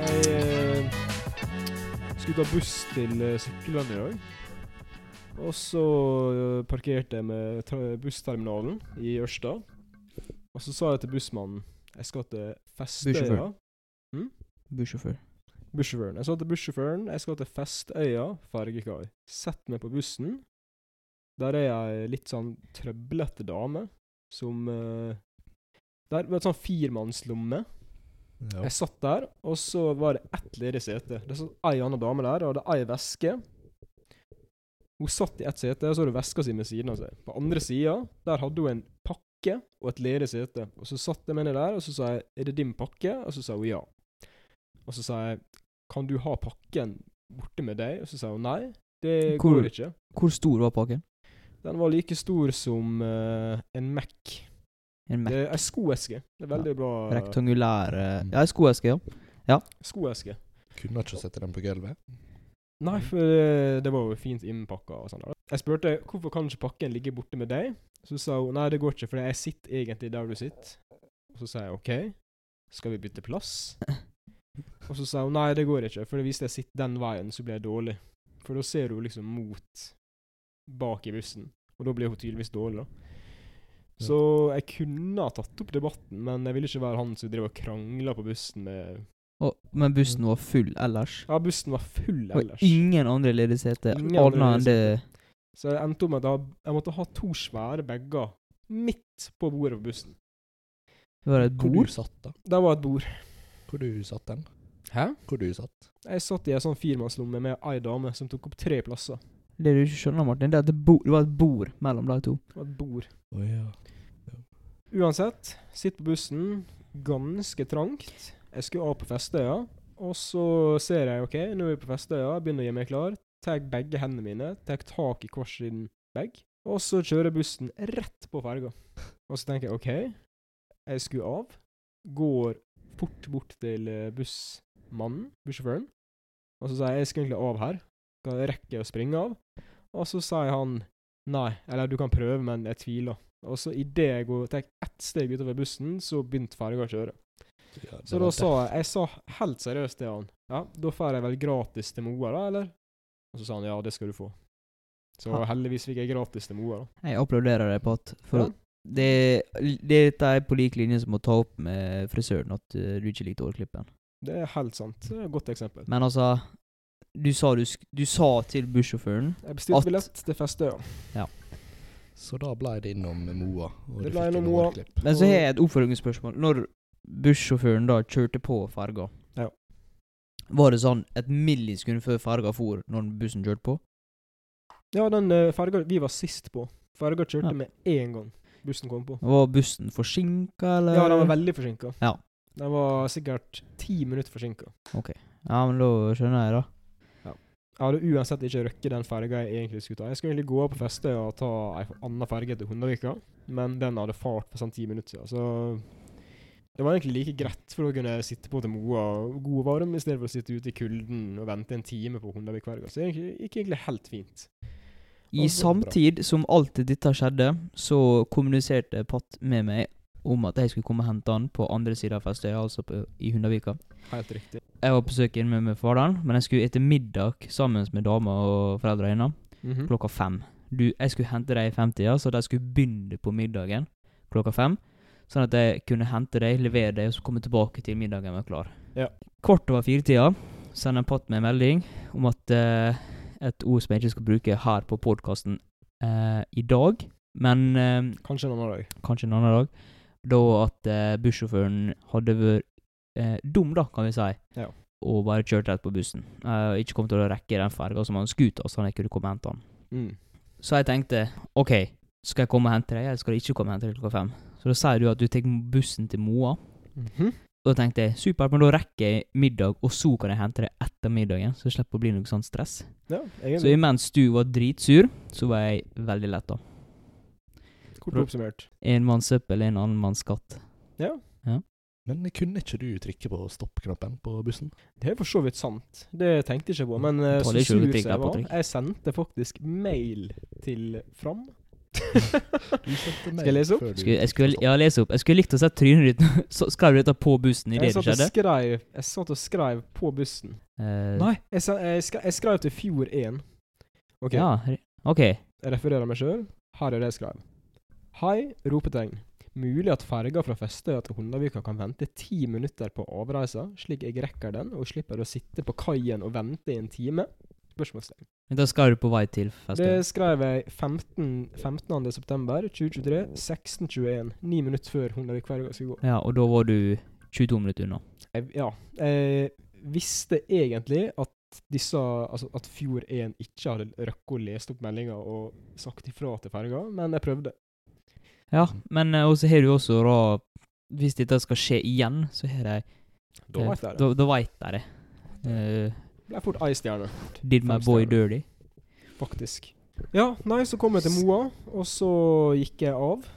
Eh, skulle ta buss til eh, Sykkellandet i dag. Og så eh, parkerte jeg med tra- bussterminalen i Ørsta. Og så sa jeg til bussmannen jeg skal til Festøya. Bussjåfør. Bussjåfør. Bussjåføren. Jeg sa til bussjåføren jeg skal til Festøya fergekai. Sett meg på bussen. Der er ei litt sånn trøblete dame som eh, Der var et sånn firmannslomme. Ja. Jeg satt der, og så var det ett ledig sete. Det satt ei anna dame der, og hadde ei veske. Hun satt i ett sete, og så hadde hun veska si ved siden av seg. På andre sida, der hadde hun en pakke og et ledig sete. Og så satt jeg med henne der, og så sa jeg 'Er det din pakke?' Og så sa hun ja. Og så sa jeg 'Kan du ha pakken borte med deg?' Og så sa hun nei. Det Hvor- går ikke. Hvor stor var pakken? Den var like stor som eh, en Mac. Det En Mac? er ei skoeske. Det er veldig bra eh, Rektangulære Mm. Ja, en skoeske, ja. skoeske. Kunne ikke sette den på gulvet. Nei, for eh, det, det var jo fint innpakka og sånn. da. Jeg spurte hvorfor kan ikke pakken ligge borte med deg. Så sa hun nei, det går ikke, for jeg sitter egentlig der du sitter. Og så sa jeg OK, skal vi bytte plass? Og så sa hun nei, det går ikke, for hvis jeg sitter den veien, så blir jeg dårlig. For da ser hun liksom mot bak i bussen, og da blir hun tydeligvis dårlig, da. Så jeg kunne ha tatt opp debatten, men jeg ville ikke være han som drev og krangla på bussen med Og, men bussen var full ellers. Ja, bussen var Mm. full Og ellers. ingen andre ledige seter Ingen andre annet enn det Så jeg endte opp med at jeg, jeg måtte ha to svære bager midt på bordet på bussen. Det var et Hvor du bord. satt da? Der var et bord. Hvor du satt den? Hæ? Hvor du satt? Jeg satt i en sånn firmannslomme med ei dame som tok opp tre plasser. Det du ikke skjønner, Martin, det er at det, bo, det var et bord mellom de to. Det var et bord. Å ja. Uansett, sitt på bussen. Ganske trangt. Jeg skulle av på Festøya, og så ser jeg OK, nå er vi på Festøya, jeg begynner å gjøre meg klar. Tar begge hendene mine, tar tak i hver sin bag, og så kjører bussen rett på ferga. Og så tenker jeg OK, jeg skulle av. Går fort bort til eh, bussmannen, bussjåføren, og så sier jeg jeg skal egentlig av her. Kan jeg rekke å springe av? Og så sier han nei, eller du kan prøve, men jeg tviler. Og så idet jeg går, tar ett steg utover bussen, så begynte ferga å kjøre. ja det Så var da sa jeg Jeg sa helt seriøst til han Ja, da får jeg vel gratis til Moa, da, eller? Og så sa han ja, det skal du få. Så Ha. heldigvis fikk jeg gratis til Moa, da. Jeg applauderer deg på at for Ja. at det, Dette er på lik linje som å ta opp med frisøren at eh, du ikke likte hårklippen. Det er helt sant. Det er et godt eksempel. Men altså Du sa, du, sk- du sa til bussjåføren Jeg bestilte At- billett til Festøya. Så da ble det innom Moa. Og Det ble du fikk innom en Moa. hårklipp. Men så har jeg et oppfølgingsspørsmål. Når bussjåføren da kjørte på ferga, Ja. var det sånn et millisekund før ferga for når bussen kjørte på? Ja, den eh, ferga vi var sist på, ferga kjørte Ja. med én gang bussen kom på. Var bussen forsinka, eller? Ja, den var veldig forsinka. Eh, Ja. Den var sikkert ti minutter forsinka. Ja, men da skjønner jeg, da. Jeg hadde uansett ikke røkket den ferga jeg egentlig skulle ta. Jeg skulle egentlig gå av på festet og ta ei anna ferge til Hundavika, men den hadde fart for sånn ti minutter siden, så det var egentlig like greit for å kunne sitte på til Moa og god og varm, i stedet for å sitte ute i kulden og vente en time på Hundavikferga. Så det gikk gikk egentlig helt fint. I Og så- samtid som alt dette skjedde, så kommuniserte Pat med meg om at jeg skulle komme og hente han på andre sida av Festøya, altså på, i Hundavika. Helt riktig. Jeg var på besøk hjemme med faren, men jeg skulle spise middag sammen med dama og foreldra hennes. Mhm. klokka fem. Du, jeg skulle hente deg i femtida, så de skulle begynne på middagen klokka fem. Sånn at jeg kunne hente deg, levere deg, og så komme tilbake til middagen var klar. Ja. Kvart over firetida sender Pat meg en melding om at eh, et ord som jeg ikke skal bruke her på podkasten i dag, men eh, Kanskje en annen dag. kanskje en annen dag, da at eh, bussjåføren hadde vært eh, dum, da, kan vi si, Ja. og bare kjørt rett på bussen. Eh, ikke kom til å rekke den ferga som han skulle ta, så han ikke kunne komme og hente han. Mm. Så jeg tenkte OK, skal jeg komme og hente deg, eller skal jeg ikke komme og hente deg klokka fem? Så da sier du at du tar bussen til Moa. Mhm. Og da tenkte jeg supert, men da rekker jeg middag, og så kan jeg hente deg etter middagen. Så det slipper å bli noe sånt stress. Ja, Så egentlig. imens du var dritsur, så var jeg veldig letta. Kort oppsummert. En manns søppel, en annen manns katt. Men kunne ikke du trykke på stopp-knappen på bussen? Det er for så vidt sant. Det tenkte jeg ikke på. Men eh, Ta så litt sur som sjølkritikk der, jeg var, Patrick. jeg sendte faktisk mail til Fram Du sendte meg Skal jeg lese opp? før du Skulle, jeg skulle, sånn. trykket ja, les opp. Jeg skulle likt å se trynet ditt Så skrev du dette på bussen idet Jeg det satt, og skjedde. skrev, jeg satt og skrev på bussen. Eh, Nei, jeg, sa, jeg, skrev, jeg skrev til Fjord 1. OK, Ja, re- OK. jeg refererer meg sjøl. Her er det jeg skrev. Hei, ropetegn. Mulig at ferga fra Festøya til Hundavika kan vente ti minutter på avreisa, slik jeg rekker den og slipper å sitte på kaien og vente i en time? Spørsmålstegn. Men Da skrev du på vei til Det festen. skrev jeg 15. 15. september 2023, 16.21. Ni minutter før Hundavikferga skulle gå. Ja, og da var du 22 minutter unna. jeg, ja, jeg visste egentlig at disse, altså at Fjord 1 ikke hadde røkket å lese opp meldinga og sagt ifra til ferga, men jeg prøvde. Ja, men eh, også har du også da Hvis dette skal skje igjen, så har de eh, Da vet jeg det. Da, da veit de det. Eh, Ble fort ei stjerne, did my boy dirty? faktisk. Ja, nei, så kom jeg til Moa, og så gikk jeg av.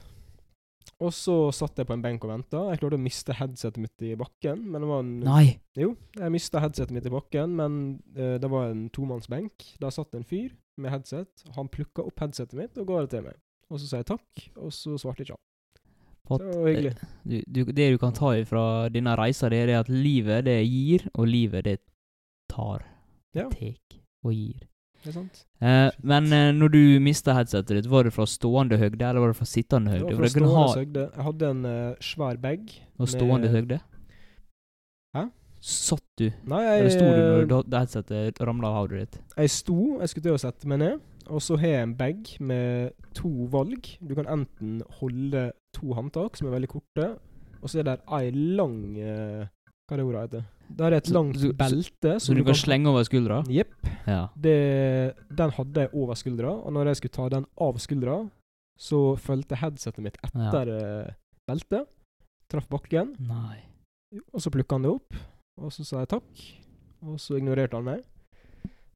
Og så satt jeg på en benk og venta. Jeg klarte å miste headsetet mitt i bakken, men det var en Nei! Jo, jeg mista headsetet mitt i bakken, men eh, det var en tomannsbenk. Der satt en fyr med headset. Han plukka opp headsetet mitt og ga det til meg. Og så sa jeg takk, og så svarte ikke han. Så Pat- det var hyggelig. Du, du, det du kan ta ifra denne reisa, det er det at livet det gir, og livet det tar. Ja. Tek og gir. Det er sant. Eh, men eh, når du mista headsetet ditt, var det fra stående høgde, eller var det fra Det sittende høgde? var For fra det kunne stående ha søgde. Jeg hadde en eh, svær bag. og stående med- høgde. Hæ? Eh, Satt du? Nei, Eller jeg, eh, sto du når da- da headsetet ramla av hodet ditt? jeg sto, jeg skulle til å sette meg ned, og så har jeg en bag med to valg. Du kan enten holde to håndtak, som er veldig korte, og så er det ei lang eh, Hva er det ordet heter? Der er et Så- langt så- så- belte. Så du kan slenge over skuldra? Jepp. Ja. det, den hadde jeg over skuldra, og når jeg skulle ta den av skuldra, så fulgte headsetet mitt ja. etter eh, beltet. Traff bakken, Nei. og så plukka han det opp. Og så sa jeg takk, og så ignorerte han meg.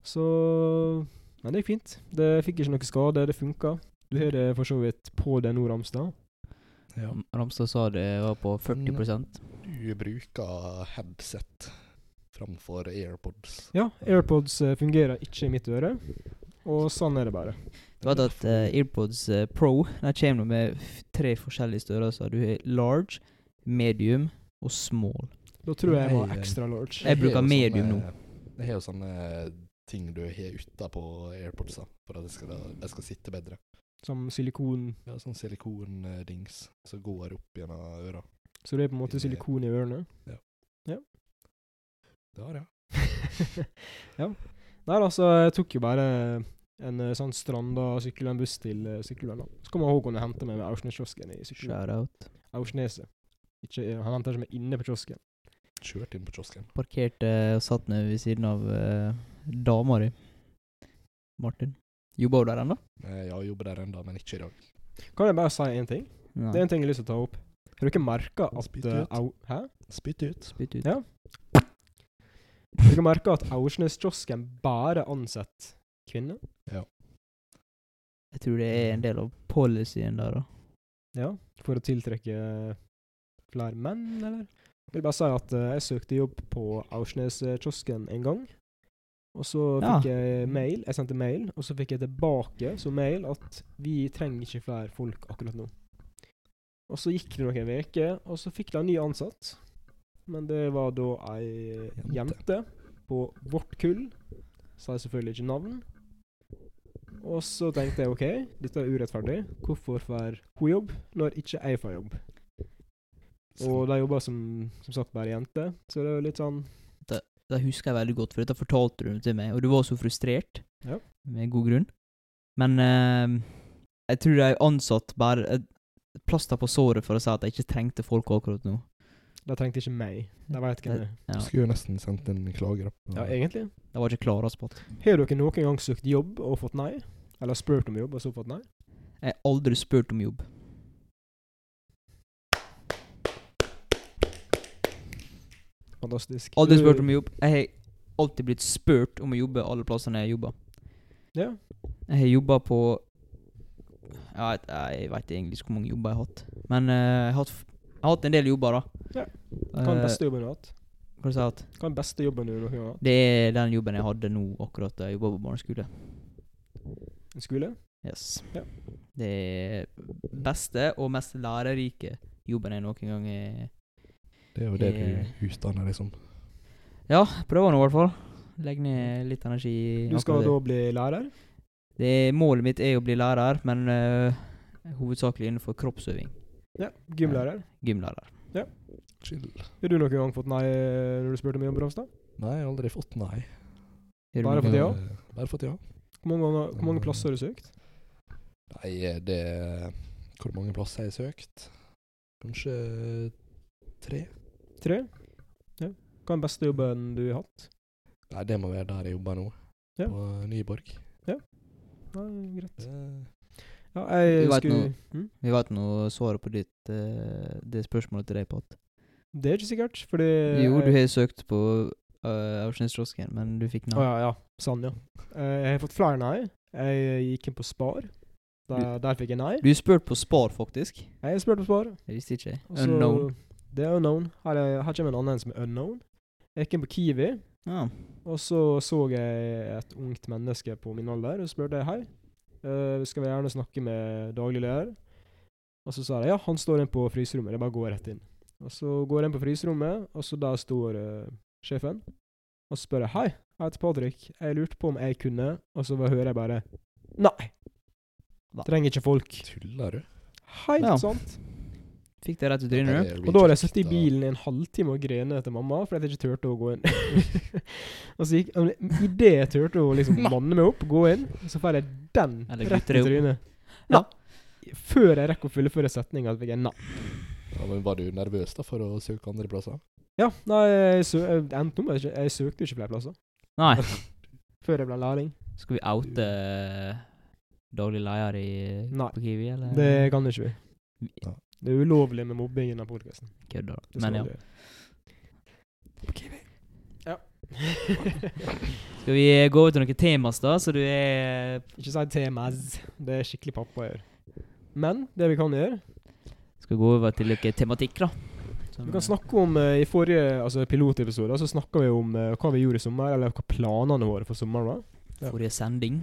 Så Men det gikk fint. Det fikk ikke noe skade, det funka. Du har det for så vidt på deg nå, Ramstad. opp. Ja. Ramstad sa det var på 40 Du bruker headset framfor AirPods. Ja, AirPods eh, fungerer ikke i mitt øre, og sånn er det bare. Du vet at eh, AirPods eh, Pro de kommer nå med f- tre forskjellige størrelser. Du har large, medium og small. Da tror jeg jeg må Nei, ha eh, extra large. Jeg bruker har jo medium sånne- Jeg har jo sånne ting du har utapå AirPodsa for at det skal, det skal sitte bedre. Som silikon. Ja, sånn silikondings som går opp gjennom øra. Så det er på en måte silikon i ørene. Det har jeg. ja. Nei da, så jeg tok jo bare en eh, sånn stranda sykkel og en buss til eh, Sykkylven. da. Så kommer Håkon og henter meg ved Aursneskiosken i Sykkylven. Shout out. Aursneset. Ikke, eh, han henter ikke meg inne på kiosken. Kjørt inn på kiosken. Parkerte og satt ned ved siden av uh, dama di, Martin. Jobber hun der ennå? Eh, Ja, jeg jobber der ennå, men ikke i dag. Kan jeg bare si én ting? Det er en ting jeg har lyst til å ta opp. Har dere merka at Spytt eh, ut. au, Hæ? Spytt ut. Spytt ut. Ja. Har dere merka at Aursneskiosken bare ansetter kvinner? Jeg tror det er en del av policyen der, da. Ja. For å tiltrekke flere menn, eller? Jeg vil bare si at eh, jeg søkte jobb på Aursneskiosken en gang. Og så Ja. fikk jeg mail, jeg sendte mail, og så fikk jeg tilbake som mail at vi trenger ikke flere folk akkurat nå. Og så gikk det noen uker, og så fikk de en ny ansatt. Men det var da ei Jente. jente på vårt kull. Sa jeg selvfølgelig ikke navn. Og så tenkte jeg OK, dette er urettferdig. Hvorfor får hun jobb når ikke jeg får jobb? Og Sånn. de jobber som, som sagt bare jenter, så det er jo litt sånn Det husker jeg veldig godt, for dette fortalte du til meg, og du var så frustrert. Ja. Med god grunn. Men eh, jeg tror de ansatte bare eh, plaster på såret for å si at de ikke trengte folk akkurat nå. De trengte ikke meg. De veit hvem det er. Ja, Skulle jo nesten sendt en klage, da. Ja, egentlig. De var ikke klare på at Har dere noen gang søkt jobb og fått nei? Eller spurt om jobb og så fått nei? Jeg har aldri spurt om jobb. Fantastisk. Aldri spurt om jobb. Jeg har alltid blitt spurt om å jobbe alle plassene jeg jobber. Ja. Jeg har jobba på Jeg vet, jeg vet egentlig ikke hvor mange jobber jeg har hatt. Men eh, jeg, har hatt, f- jeg har hatt en del jobber, da. Ja. Hva er den Eh, beste jobben du har hatt? Hva sa jeg? hatt? Hva er den beste jobben du noen gang har hatt? Det er den jobben jeg hadde nå akkurat da jeg jobba på barneskole. En skole? Yes. Ja. Det er beste og mest lærerike jobben jeg noen gang er Det er jo det Eh. du liksom. utdanner deg som. Ja, prøver nå i hvert fall. Legg ned litt energi. i Du skal akkurat det. da bli lærer? det Målet mitt er å bli lærer, men øh, hovedsakelig innenfor kroppsøving. Ja. Gymlærer? Gymlærer. Chill. Har du noen gang fått nei eh, når du spurte om jobb, Ropstad? Nei, jeg har aldri fått nei. Er du Bare noe- for det, ja. Eh, Bare fått ja. Hvor mange, ganger- hvor mange plasser har du søkt? Nei, eh, det er Hvor mange plasser har jeg søkt? Kanskje tre? Tre? Ja. Hva er den beste jobben du har hatt? Nei, det må være der jeg jobber nå. Ja. På eh, Nyborg. Nei, greit. Eh, Ja, Du jeg vet skulle noe. Hm? Vi vet nå svaret på ditt, øh, det spørsmålet til deg, Pat. Det er ikke sikkert, fordi Jo, du jeg- har søkt på øh, Aursnes-kiosken, men du fikk Å nei. ja, ja. Sann, ja. Eh, jeg har fått flere nei. Jeg gikk inn på Spar. Der, der fikk jeg nei. Du spurte på Spar, faktisk. Jeg spurte på Spar. Jeg visste ikke. og så- Unknown. Det er unknown. Her, er, her kommer en annen som er unknown. Jeg gikk inn på Kiwi. Ja. Og så så jeg et ungt menneske på min alder og spurte hei, eh, skal vi gjerne snakke med daglig leder. Og så sa de ja, han står inne på fryserommet, det er bare å gå rett inn. Og så går jeg inn på fryserommet, og så der står eh, sjefen. Og så spør jeg hei, jeg heter Patrick, jeg lurte på om jeg kunne, og så bare hører jeg bare nei. Nei. Trenger ikke folk. Tuller du? Helt Ja. sant. Fikk det rett i trynet, du. Og da har jeg sittet i bilen i en halvtime og grenet til mamma fordi jeg ikke turte å gå inn. og så gikk Idet jeg turte å liksom manne meg opp, gå inn, så får jeg den Eller rett i gutter opp. trynet. Ja. Nei. Før jeg rekker å fullføre setninga, fikk jeg nei. Ja, men Var du nervøs da for å søke andre plasser? Ja, nei, jeg, sø jeg, endte opp med ikke- jeg søkte ikke flere plasser Nei. før jeg ble lærling. Skal vi oute daglig leder i Nei. på Kiwi, eller? Det kan ikke vi. Ja. Det er ulovlig med mobbing innen podkasten. Kødder. Men ja. Ja. Skal vi eh, gå over til noen temas, da? Så du er ikke si TMS. Det er skikkelig pappa gjør. Men det vi kan gjøre, Skal gå over til noe tematikk, da. Som- Vi kan snakke om eh, I forrige altså pilotepisode så snakka vi om eh, hva vi gjorde i sommer, eller hva planene våre for sommeren var. ja. Forrige sending.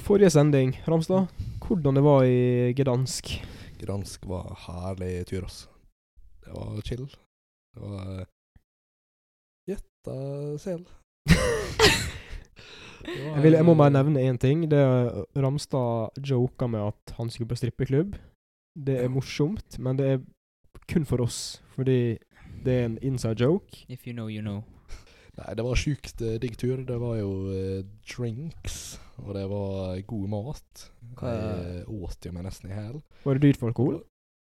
Forrige sending, Ramstad, hvordan det var i Gdansk. Gransk var herlig tur, ass. Det var chill. Det var eh, gjetta sel. Det var- Jeg, vil, jeg må bare nevne én ting. Det er Ramstad joka med at han skulle på strippeklubb. Det er morsomt, men det er kun for oss, fordi det er en inside joke. If you know, you know. Nei, det var sjukt eh, digg tur. Det var jo eh, drinks, og det var eh, god mat. Hva- Jeg eh, åt jo meg nesten i hæl. Var det dyrt for alkohol?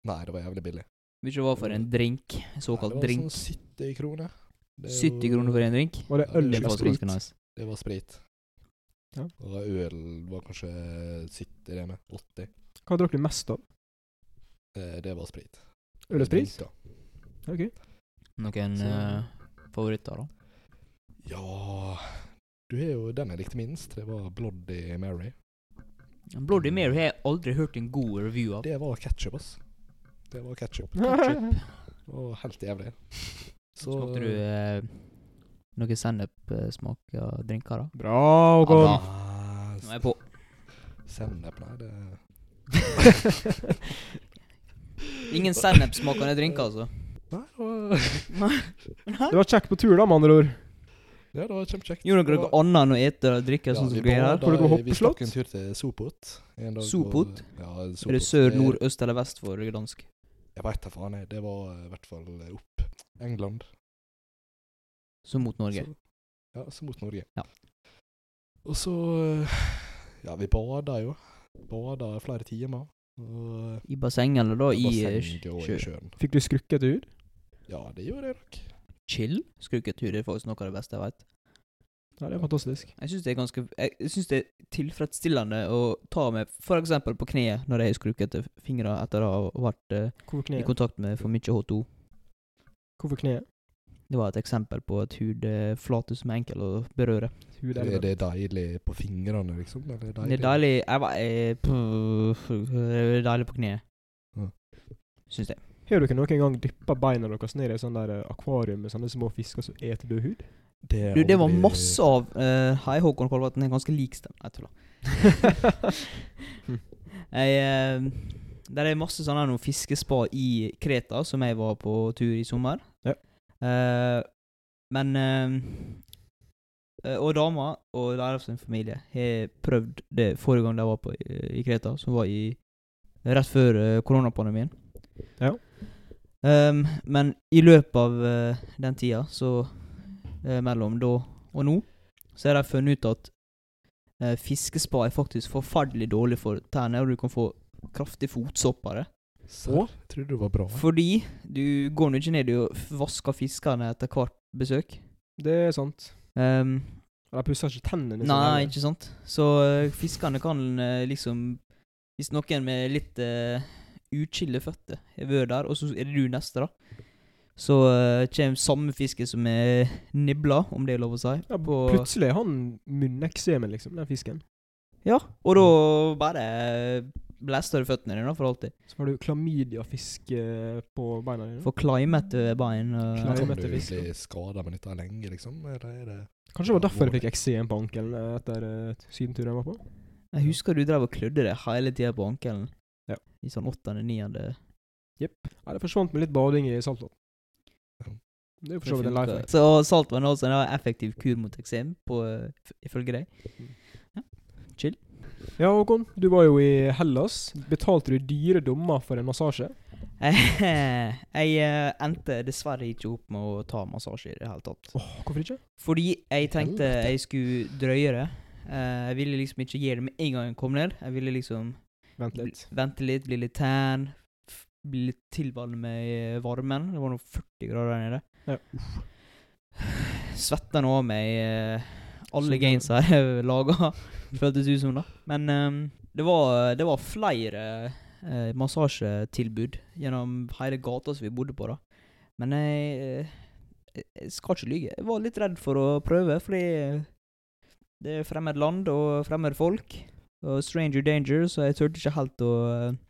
Nei, det var jævlig billig. Hvis det var for en drink, såkalt Nei, det var drink. Sånn 70 kroner. Det er 70 jo- kroner for en drink? Var det Ja, øl Det er eller faktisk sprit? ganske nice. Det var sprit. Ja. Og øl var kanskje 70 det med. 80. Hva drakk du mest av? Eh, det var sprit. Øl og sprit? Drinker. Ok. Noen Så- eh, favoritter, da? Ja Du har jo den jeg likte minst. Det var Bloody Mary. Bloody Mary har jeg aldri hørt en god review av. Det var ketsjup, ass. Det var ketsjup. Og helt jævlig. Så Smakte du eh, noe sennepsmak av drinker, da? Bra, Ja, Håkon. Ah, Nå er jeg på. Sennep, nei, det Ingen sennepsmakende drinker, altså. Nei, det var, Det var kjekk på tur, da, med andre ord. ja, det var kjempekjekt. Gjorde dere noe annet enn å ete og drikke? sånn som dere gjør her? Får dere Vi hoppeslott? stakk en tur til Sopot. en dag på- Sopot? Ja, Er det Sopot. sør, nord, øst eller vest for dansk? Jeg veit da faen, jeg. Det var eh, i hvert fall opp England. Så mot Norge. Så, ja, så mot Norge. Ja. Og så eh, Ja, vi bada jo. Bada flere timer. Og eh, I basseng eller da? I eh, bassenget og i sjø? sjøen. Fikk du skrukket hud? Ja, det gjorde jeg nok. Chill? Skruketur er faktisk noe av det beste jeg vet. Ja, det er fantastisk. Jeg syns det er ganske Jeg synes det er tilfredsstillende å ta meg for eksempel på kneet når jeg har skrukete fingre etter å ha vært eh, Hvorfor i kneet? kontakt med for mye H2. Hvorfor kneet? Det var et eksempel på et hudflate som er enkel å berøre. Hud Er eller det deilig på fingrene, liksom? Eller Det er deilig Jeg var eh, pff, Det er deilig på Ja. kneet. Syns det. Har dere noen gang dyppa beina deres ned i sånn der eh, akvarium med sånne små fisker som eter død hud? Det, er Du, det var aldri- masse av eh, Hei, Håkon Kolvatn. En ganske lik stemme. Jeg tuller. Jeg, eh, der er masse sånne noen fiskespa i Kreta, som jeg var på tur i sommer. Ja. Eh, men eh, eh, Og dama og deres familie har prøvd det forrige gang de var på eh, i, i Kreta, som var i rett før eh, koronapandemien. Ja. Ehm, men i løpet av eh, den tida, så eh, mellom da og nå, så har de funnet ut at eh, fiskespa er faktisk forferdelig dårlig for tærne, og du kan få kraftig fotsopp av det. Serr, jeg trodde det var bra. Fordi du går nå ikke ned og f- vasker fiskene etter hvert besøk. Det er sant. Ehm, Og de pusser ikke tennene nei, heller. ikke sant? Så eh, fiskene kan eh, liksom Hvis noen med litt uh, uskilde føtter har vært der, og så er det du neste, da, så eh, kommer samme fiske som er nibla, om det er lov å si. Ja, på- Plutselig har han munneksemen, liksom, den fisken. Ja, og da bare blaster du føttene dine da, for alltid. Så har du klamydiafisk eh, på beina dine. For eh. climate bein og Climate. Kan møtte du fisk. bli skada med dette lenge, liksom? Eller er det Kanskje det var derfor jeg fikk eksem på ankelen eh, etter eh, sydenturen jeg var på. Jeg husker du drev og klødde deg hele tida på ankelen. Ja. I sånn åttende-niende Nei, det forsvant med litt bading i saltvann. Ja. Det er jo for så vidt en life hack. Så saltvann er altså en effektiv kur mot eksem, på, eh, f- ifølge deg. Ja, Håkon, du var jo i Hellas. Betalte du dyre dommer for en massasje? Jeg eh, endte dessverre ikke opp med å ta massasje i det hele tatt. Åh, hvorfor ikke? Fordi jeg tenkte Helvete. jeg skulle drøye det. Eh, Jeg ville liksom ikke gjøre det med en gang jeg kom ned. Jeg ville liksom Vent litt. Bl- Vente litt, bli litt tan. f- Bli litt tilvalg med eh, varmen. Det var nå 40 grader der nede. Ja. Svetta nå av meg eh, alle Som det- gains her laga, føltes ut som, da. Men ehm, det, var, det var flere eh, massasjetilbud gjennom hele gata som vi bodde på, da. Men jeg, eh, jeg- jeg skal ikke lyge. Jeg var litt redd for å prøve, fordi det er fremmed land og fremmed folk. Og stranger danger, så jeg turte ikke helt å eh,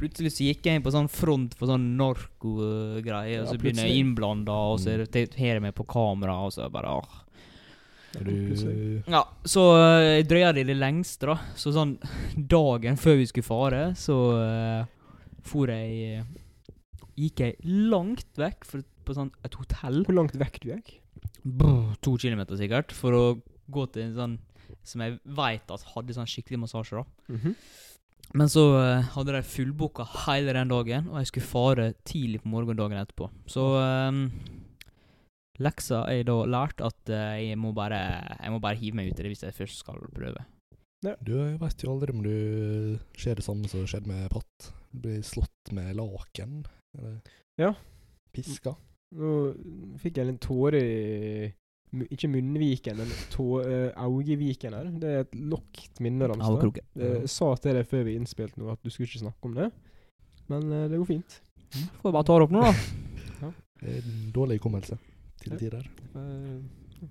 Plutselig så gikk jeg inn på sånn front for sånn narkogreier, og Ja, så begynner jeg innblanda, og så er Mm. det har jeg meg på kamera, og så bare åh. Er Plutselig. du Ja, så eh, jeg drøya det i det lengste, da. Så sånn dagen før vi skulle fare, så eh, for jeg Gikk jeg langt vekk for, på sånn et hotell, Hvor langt vekk du gikk? brr, to kilometer sikkert, for å gå til en sånn som jeg veit at hadde sånn skikkelig massasje, da. Mhm. Men så eh, hadde de fullbooka hele den dagen, og jeg skulle fare tidlig på morgendagen etterpå. Så eh, leksa er da lært at eh, jeg, må bare, jeg må bare hive meg ut i det hvis jeg først skal prøve. Du veit jo aldri om du skjer det samme som skjedde med Patt. Du blir slått med laken. Eller Ja. piska. Nå fikk jeg en tåre i mu- Ikke munnviken, men tå- eh, augeviken her. Det er et lågt minne, Av Ramstad. kroken. Eh, Jeg sa til deg før vi innspilte nå at du skulle ikke snakke om det, men eh, det går fint. Mm. Får jeg bare ta det opp nå, da. Det er en dårlig hukommelse til tider. Eh,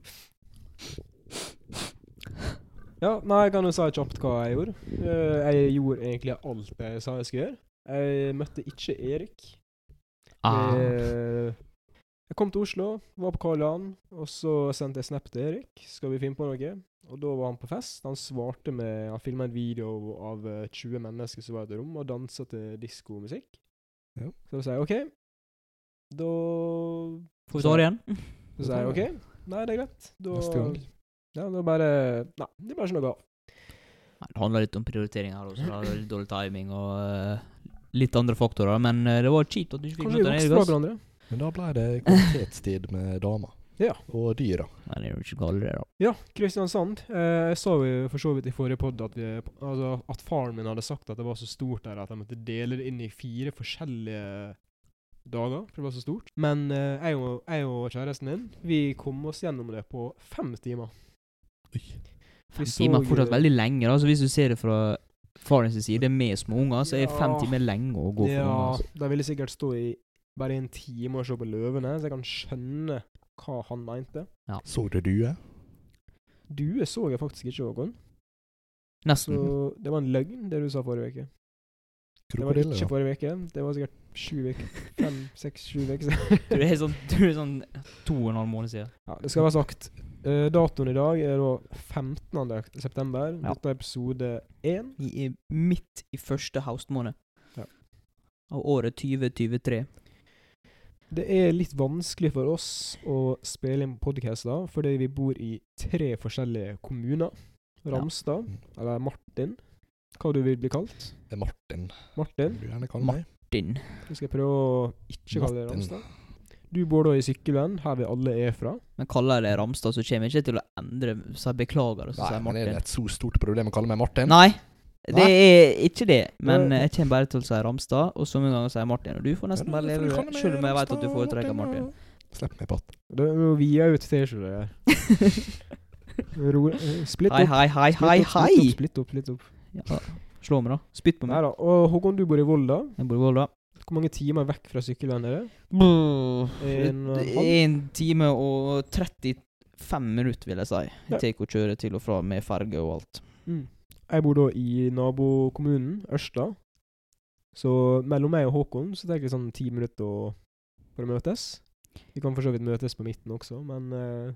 Ja, nei, jeg kan jo si kjapt hva jeg gjorde. Eh, Jeg gjorde egentlig alt jeg sa jeg skulle gjøre. Jeg møtte ikke Erik. Ah, Eh, Jeg kom til Oslo, var på Karl Johan, og så sendte jeg snap til Erik. Skal vi finne på noe? Og da var han på fest. Han svarte med Han filma en video av eh, 20 mennesker som var i et rom, og dansa til diskomusikk. Ja. Så da sa jeg OK. Da får vi ta det igjen? så sa jeg OK. Nei, det er greit. Da, Neste gang. Ja, da bare Nei, det ble ikke noe av. Nei, Det handler litt om prioritering her også. da. Det er Litt dårlig timing og eh, litt andre faktorer. Men eh, det var kjipt at du ikke fikk Kanskje vi møte vokste fra Erik. hverandre. Men da ble det kvalitetstid med dama. Ja. Og dyra. Men det er jo ikke galt, det, da. Ja, Kristiansand. Eh, jeg sa jo for så vidt i forrige podd at, vi, altså, at faren min hadde sagt at det var så stort der at jeg måtte dele det inn i fire forskjellige dager, for det var så stort. Men eh, jeg, og, jeg og kjæresten min, vi kom oss gjennom det på fem timer. Oi. Vi Fem så timer er jo- fortsatt veldig lenge, da. Så hvis du ser det fra farens side, med små unger, så er fem Ja. timer lenge å gå for unger. Ja, Altså. de ville sikkert stå i bare en time og se på løvene, så jeg kan skjønne hva han mente. Så du due? Due så jeg faktisk ikke, Håkon. Så Nesten. det var en løgn, det du sa forrige uke. Det var Mhm. Krokodille? ikke da? forrige uke, det var sikkert sju uker. Fem, seks, sju uker siden. Du er sånn, du er sånn to og en halv måned siden. Ja, det skal være sagt. Eh, datoen i dag er da 15. september. Ja. Dette er episode én. Vi er midt i første haustmåned Ja. av året 2023. Det er litt vanskelig for oss å spille inn podcaster fordi vi bor i tre forskjellige kommuner. Ramstad, eller Martin, hva du vil bli kalt. Det er Martin. Du Martin. kan gjerne kalle meg Din. Nå skal jeg prøve å ikke kalle deg Martin. Ramstad. Du bor da i Sykkylven, her vi alle er fra. Men kaller jeg det Ramstad, så kommer jeg ikke til å endre Så jeg beklager, og så Nei, sier jeg men er Martin. det et så stort problem å kalle meg Martin? Nei, det er ikke det. Men Nei. eh, jeg kommer bare til å si Ramstad, og så mange ganger sier jeg Martin. Og du får Ja, nesten da bare får du leve kalle med meg det, sjøl om jeg vet at du Ramstad, foretrekker Martin. og- Slipp meg patt. Det er jo via ut T-skjorta her. Ro- eh, Splitt Hei, opp. hei, hei, hei, hei! Splitt opp, splitt opp. Ja, slå meg, da. Spytt på Nei meg. da. Og Håkon, du bor i Volda. Jeg bor i Volda. Hvor mange timer vekk fra Sykkylven er det? En og en halv? En time og 35 minutter, vil jeg si. Ja. Jeg tar å kjøre til og fra med ferge og alt. Mm. Jeg bor da i nabokommunen, Ørsta. Så mellom meg og Håkon så tenker jeg sånn ti minutter å- for å møtes. Vi kan for så vidt møtes på midten også, men eh,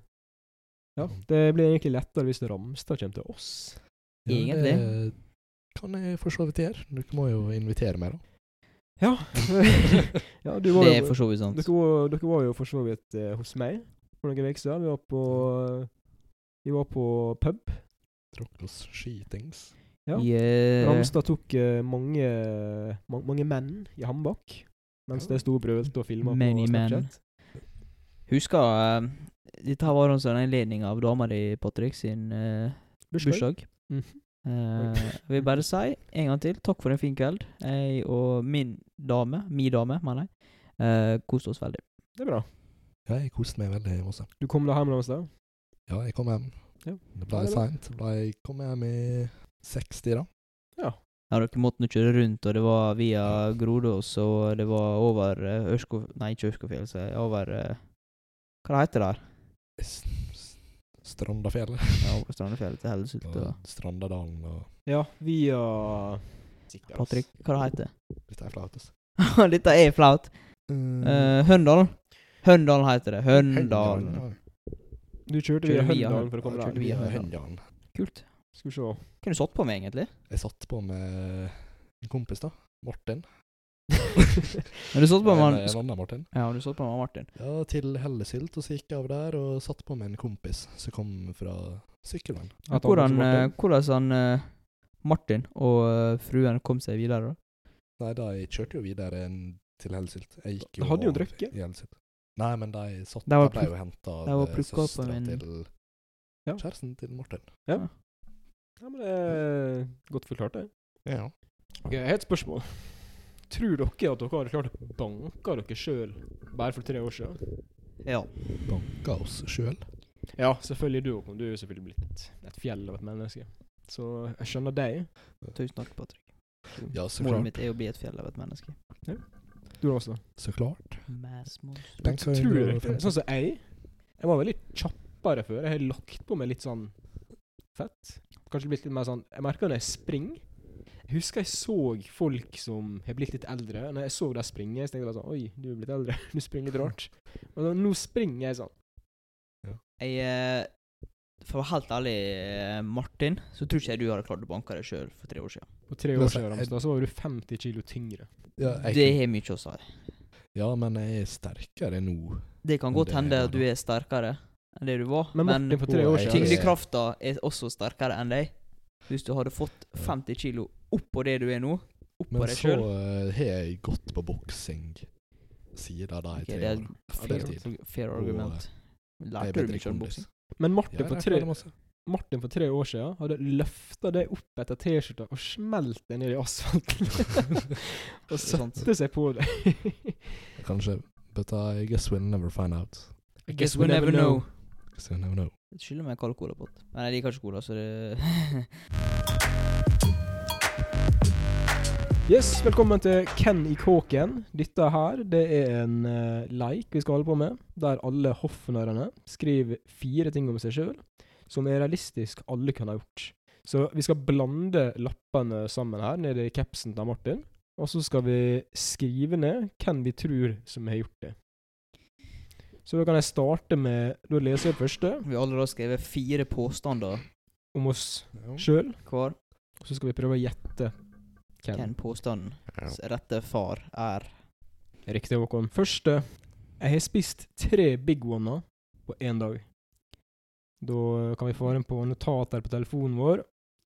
ja. Det blir egentlig lettere hvis Ramstad kommer til oss. Ja, Egentlig. det kan jeg for så vidt gjøre. Dere må jo invitere meg, da. Ja. ja du var Det er jo, for så vidt sant. dere, var, dere var jo for så vidt eh, hos meg for noen uker siden. Vi var på Vi var på pub. Tråkk oss skitings. Ja. I, eh, Ramstad tok eh, mange, ma- mange menn i håndbak mens Ja. de sto og brølte og filma på Many men. Snapchat. Husker eh, Dette her var altså en anledning av dama di, Patrick, sin eh, bursdag. Mhm. Eh, jeg vil bare si en gang til takk for en fin kveld. Jeg og min dame, mi dame, mener jeg, eh, koste oss veldig. Det er bra. Ja, jeg koste meg veldig masse. Du kom deg hjem Ramstad? Ja, jeg kom hjem. Ja. Det Ja, ble det er bra. seint. Jeg kom hjem i 60, da. Ja, dere måtte nå kjøre rundt, og det var via Grodås, og det var over eh, Ørsko... Nei, ikke Ørskofjell, så over eh, Hva det heter det der? S- s- Strandafjellet. Ja, over Strandefjellet til Hellesylt og Og Strandadalen og Ja, via Sikkert, ass. Patrick, hva det heter Dette er flaut, altså. det? Dette er flaut. Uh, Uh, Høndalen. Høndalen heter det. Høndalen. Du kjørte via Kjørte via Høndalen for å komme Jeg deg kjørte hjem. via Via Høndalen. Høndalen. Kult. Skal vi se. Kunne du satt på meg, egentlig? Jeg satt på med en kompis, da. Martin. Men du satt på En- meg En annen Martin. Ja, du satt på meg Martin. Ja, til Hellesylt, og så gikk jeg av der og satt på med en kompis som kom fra Sykkylven. At han Hvordan, også eh, Martin. hvordan han eh, Martin og eh, fruen kom seg videre, da? Nei, de kjørte jo videre en til Hellesylt. Jeg gikk jo De hadde jo av drukket. I Hellesylt. Nei, men de satt De var De ble jo henta de var av eh, plukket opp av søstera en- til Ja. kjæresten til Martin. Ja, men det er godt forklart, det. Ja. Ok, Jeg har et spørsmål. Tror dere at dere hadde klart å banke dere sjøl bare for tre år siden? Ja. Banka oss sjøl. Ja, selvfølgelig du, Håkon. Du er jo selvfølgelig blitt et fjell av et menneske. Så jeg skjønner deg. Tusen takk, Patrick. Ja, så Målet klart. mitt er å bli et fjell av et menneske. Du også. Så klart. Men så tror dere ikke det? Sånn som jeg. Jeg var veldig kjappere før. Jeg har lagt på meg litt sånn fett. Kanskje blitt litt mer sånn Jeg merker når jeg springer Jeg husker jeg så folk som har blitt litt eldre. Når jeg så dem springe, så tenkte jeg bare sånn Oi, du er blitt eldre. Du springer litt rart. Men nå- nå springer jeg sånn. Jeg eh, For å være helt ærlig, eh, Martin, så tror ikke jeg du hadde klart å banke deg sjøl for tre år siden. På tre Men år så- siden Ramstad, så var du 50 kilo tyngre. Ja, Det jeg, kunne- har mye å si. ja, men jeg er sterkere nå. Det kan Men godt det er hende bra, at du da. er sterkere enn det du var, Men men, Martin, for tre Å, år jeg- siden tyngdekrafta er også sterkere enn deg. Hvis du hadde fått 50 kilo oppå det du er nå, oppå Men deg så sjøl eh, har jeg gått på boksing siden de Ok, tre det er- årene. Fair, Fulltid. fair Og, argument. Jeg er Lærte du bedre mye om kondis. boksing? Men Ja, Martin, jeg for lærte tre, veldig masse. Martin for tre år siden hadde løfta deg opp etter T-skjorta og smelt deg ned i asfalten. og Det er sant. satte seg på deg. Kanskje. But I guess we'll never find out. I Guess we never know. Guess we'll never know. Det skylder meg kald colapott. Men jeg liker ikke cola, så det Yes, velkommen til Ken i kåken. Dette her, det er en eh, leik vi skal holde på med, der alle hoffnarrene skriver fire ting om seg sjøl som er realistisk alle kan ha gjort. Så vi skal blande lappene sammen her, nede i capsen til Martin. Og så skal vi skrive ned hvem vi tror som har gjort det. Så da kan jeg starte med Da leser jeg første Vi har allerede skrevet fire påstander om oss Ja. sjøl. hver. Og så skal vi prøve å gjette hvem. Hvem påstanden Ja. s- rette far er? Riktig, Håkon. Første Jeg har spist tre Big One-er på én dag. Da kan vi få inn på notater på telefonen vår,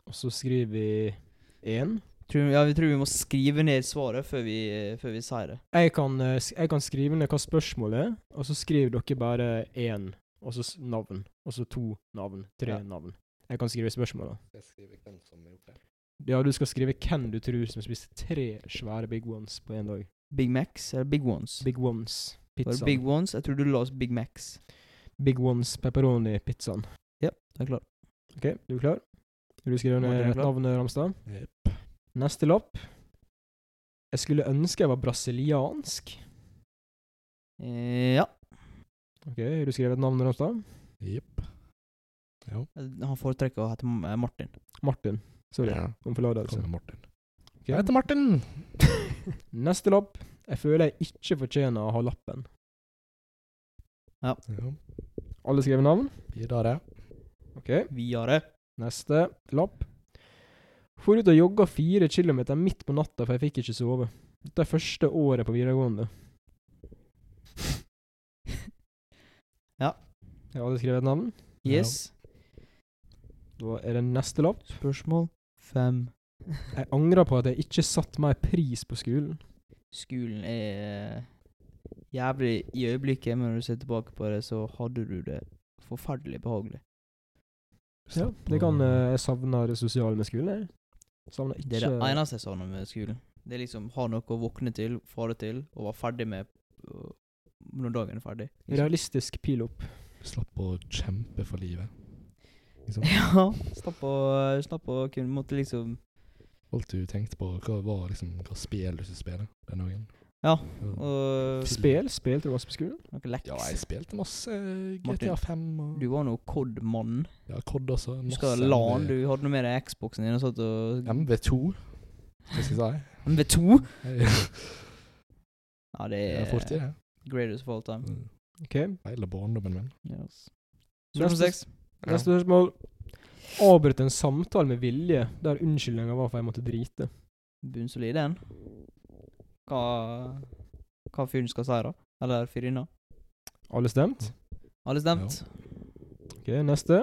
og så skriver vi én. Tror, ja, vi tror vi må skrive ned svaret før vi, før vi sier det. Jeg kan, eh, sk- jeg kan skrive ned hva spørsmålet er, og så skriver dere bare én, og så s- navn. Og så to navn. Tre Ja. navn. Jeg kan skrive spørsmålet. Jeg skriver hvem som har gjort det. Ja, du skal skrive hvem du tror som har spist tre svære Big Ones på én dag. Big Macs eller Big Ones? Big Ones. Var det Pizzaen. Big, Big Ones? Jeg tror du la oss Big Macs. Ones pepperoni-pizzaen. Det er klart. OK, du er klar? Vil du skrive Martin er ned klar. navnet, Ramstad? Jepp. Neste lapp. Jeg skulle ønske jeg var brasiliansk. Eh, Ja. Ok, Har du skrevet navnet hans, da? Jepp. Ja. Han foretrekker å hete M- eh, Martin. Martin. Sorry, Ja. om forlatelse. Kongen Martin. Ok. Jeg heter Martin! Neste lapp. Jeg føler jeg ikke fortjener å ha lappen. Ja. Alle skriver navn? Videre. Ok. Videre. Neste lapp. For ut og jogga fire kilometer midt på natta, for jeg fikk ikke sove. Dette er første året på videregående. Ja. Jeg har alle skrevet navn. Yes. Da er det neste lapp. Spørsmål fem. Jeg angrer på at jeg ikke satte mer pris på skolen. Skolen er jævlig i øyeblikket, men når du ser tilbake på det, så hadde du det forferdelig behagelig. Ja, det kan eh, Jeg savner det sosiale med skolen, jeg. Savner ikke Det er det eneste jeg savner med skolen. Det er liksom ha noe å våkne til, fare til, og være ferdig med øh, når dagen er ferdig. Realistisk pil opp. eh, Slapp å kjempe for livet. Liksom. Ja. Slapp å Slapp å kunne måtte liksom Alt du tenkte på, hva var liksom hva spel du skulle spille den dagen? Ja, og og Spel? Spilte du masse på skolen? noe leks. Ja, jeg spilte masse Martin, GTA 5 og Du var nå COD-mannen. ja, COD også. Du Masse skal ha LAN. Du hadde noe med deg i Xboxen din og satt og MV2, hva skal jeg si? MV2? Jeg, Eh, Ja, det jeg er er fortid, jeg. greatest of all time. OK. Feil barndommen min. Yes. Neste- Spørsmål seks. Neste spørsmål. Avbrøt en samtale med vilje der unnskyldninga var for jeg måtte drite. Bunnsolid er den. Hva Hva fyren skal si, da? Eller fyrinna? Alle stemt? Alle stemt? OK, neste.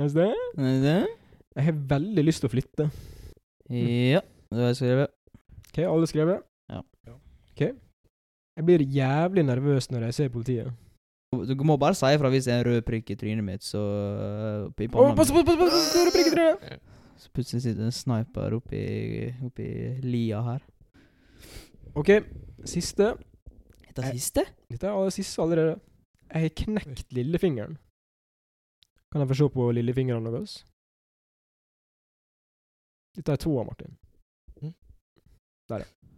Neste. Er det? Jeg har veldig lyst til å flytte. Ja, det har jeg skrevet. OK, alle skrevet? Ja. Ja. OK. Jeg blir jævlig nervøs når jeg ser politiet. Du må bare si ifra hvis det er en rød prikk i trynet mitt, så øh, i Å, panna pass, mi. pass, pass, pass, store prikketrøye! Så plutselig sitter det en sniper oppi, oppi lia her. OK, siste. Dette Eh. siste? Dette er aller siste allerede. Jeg har knekt lillefingeren. Kan jeg få se på lillefingeren deres? Dette er toa, Martin.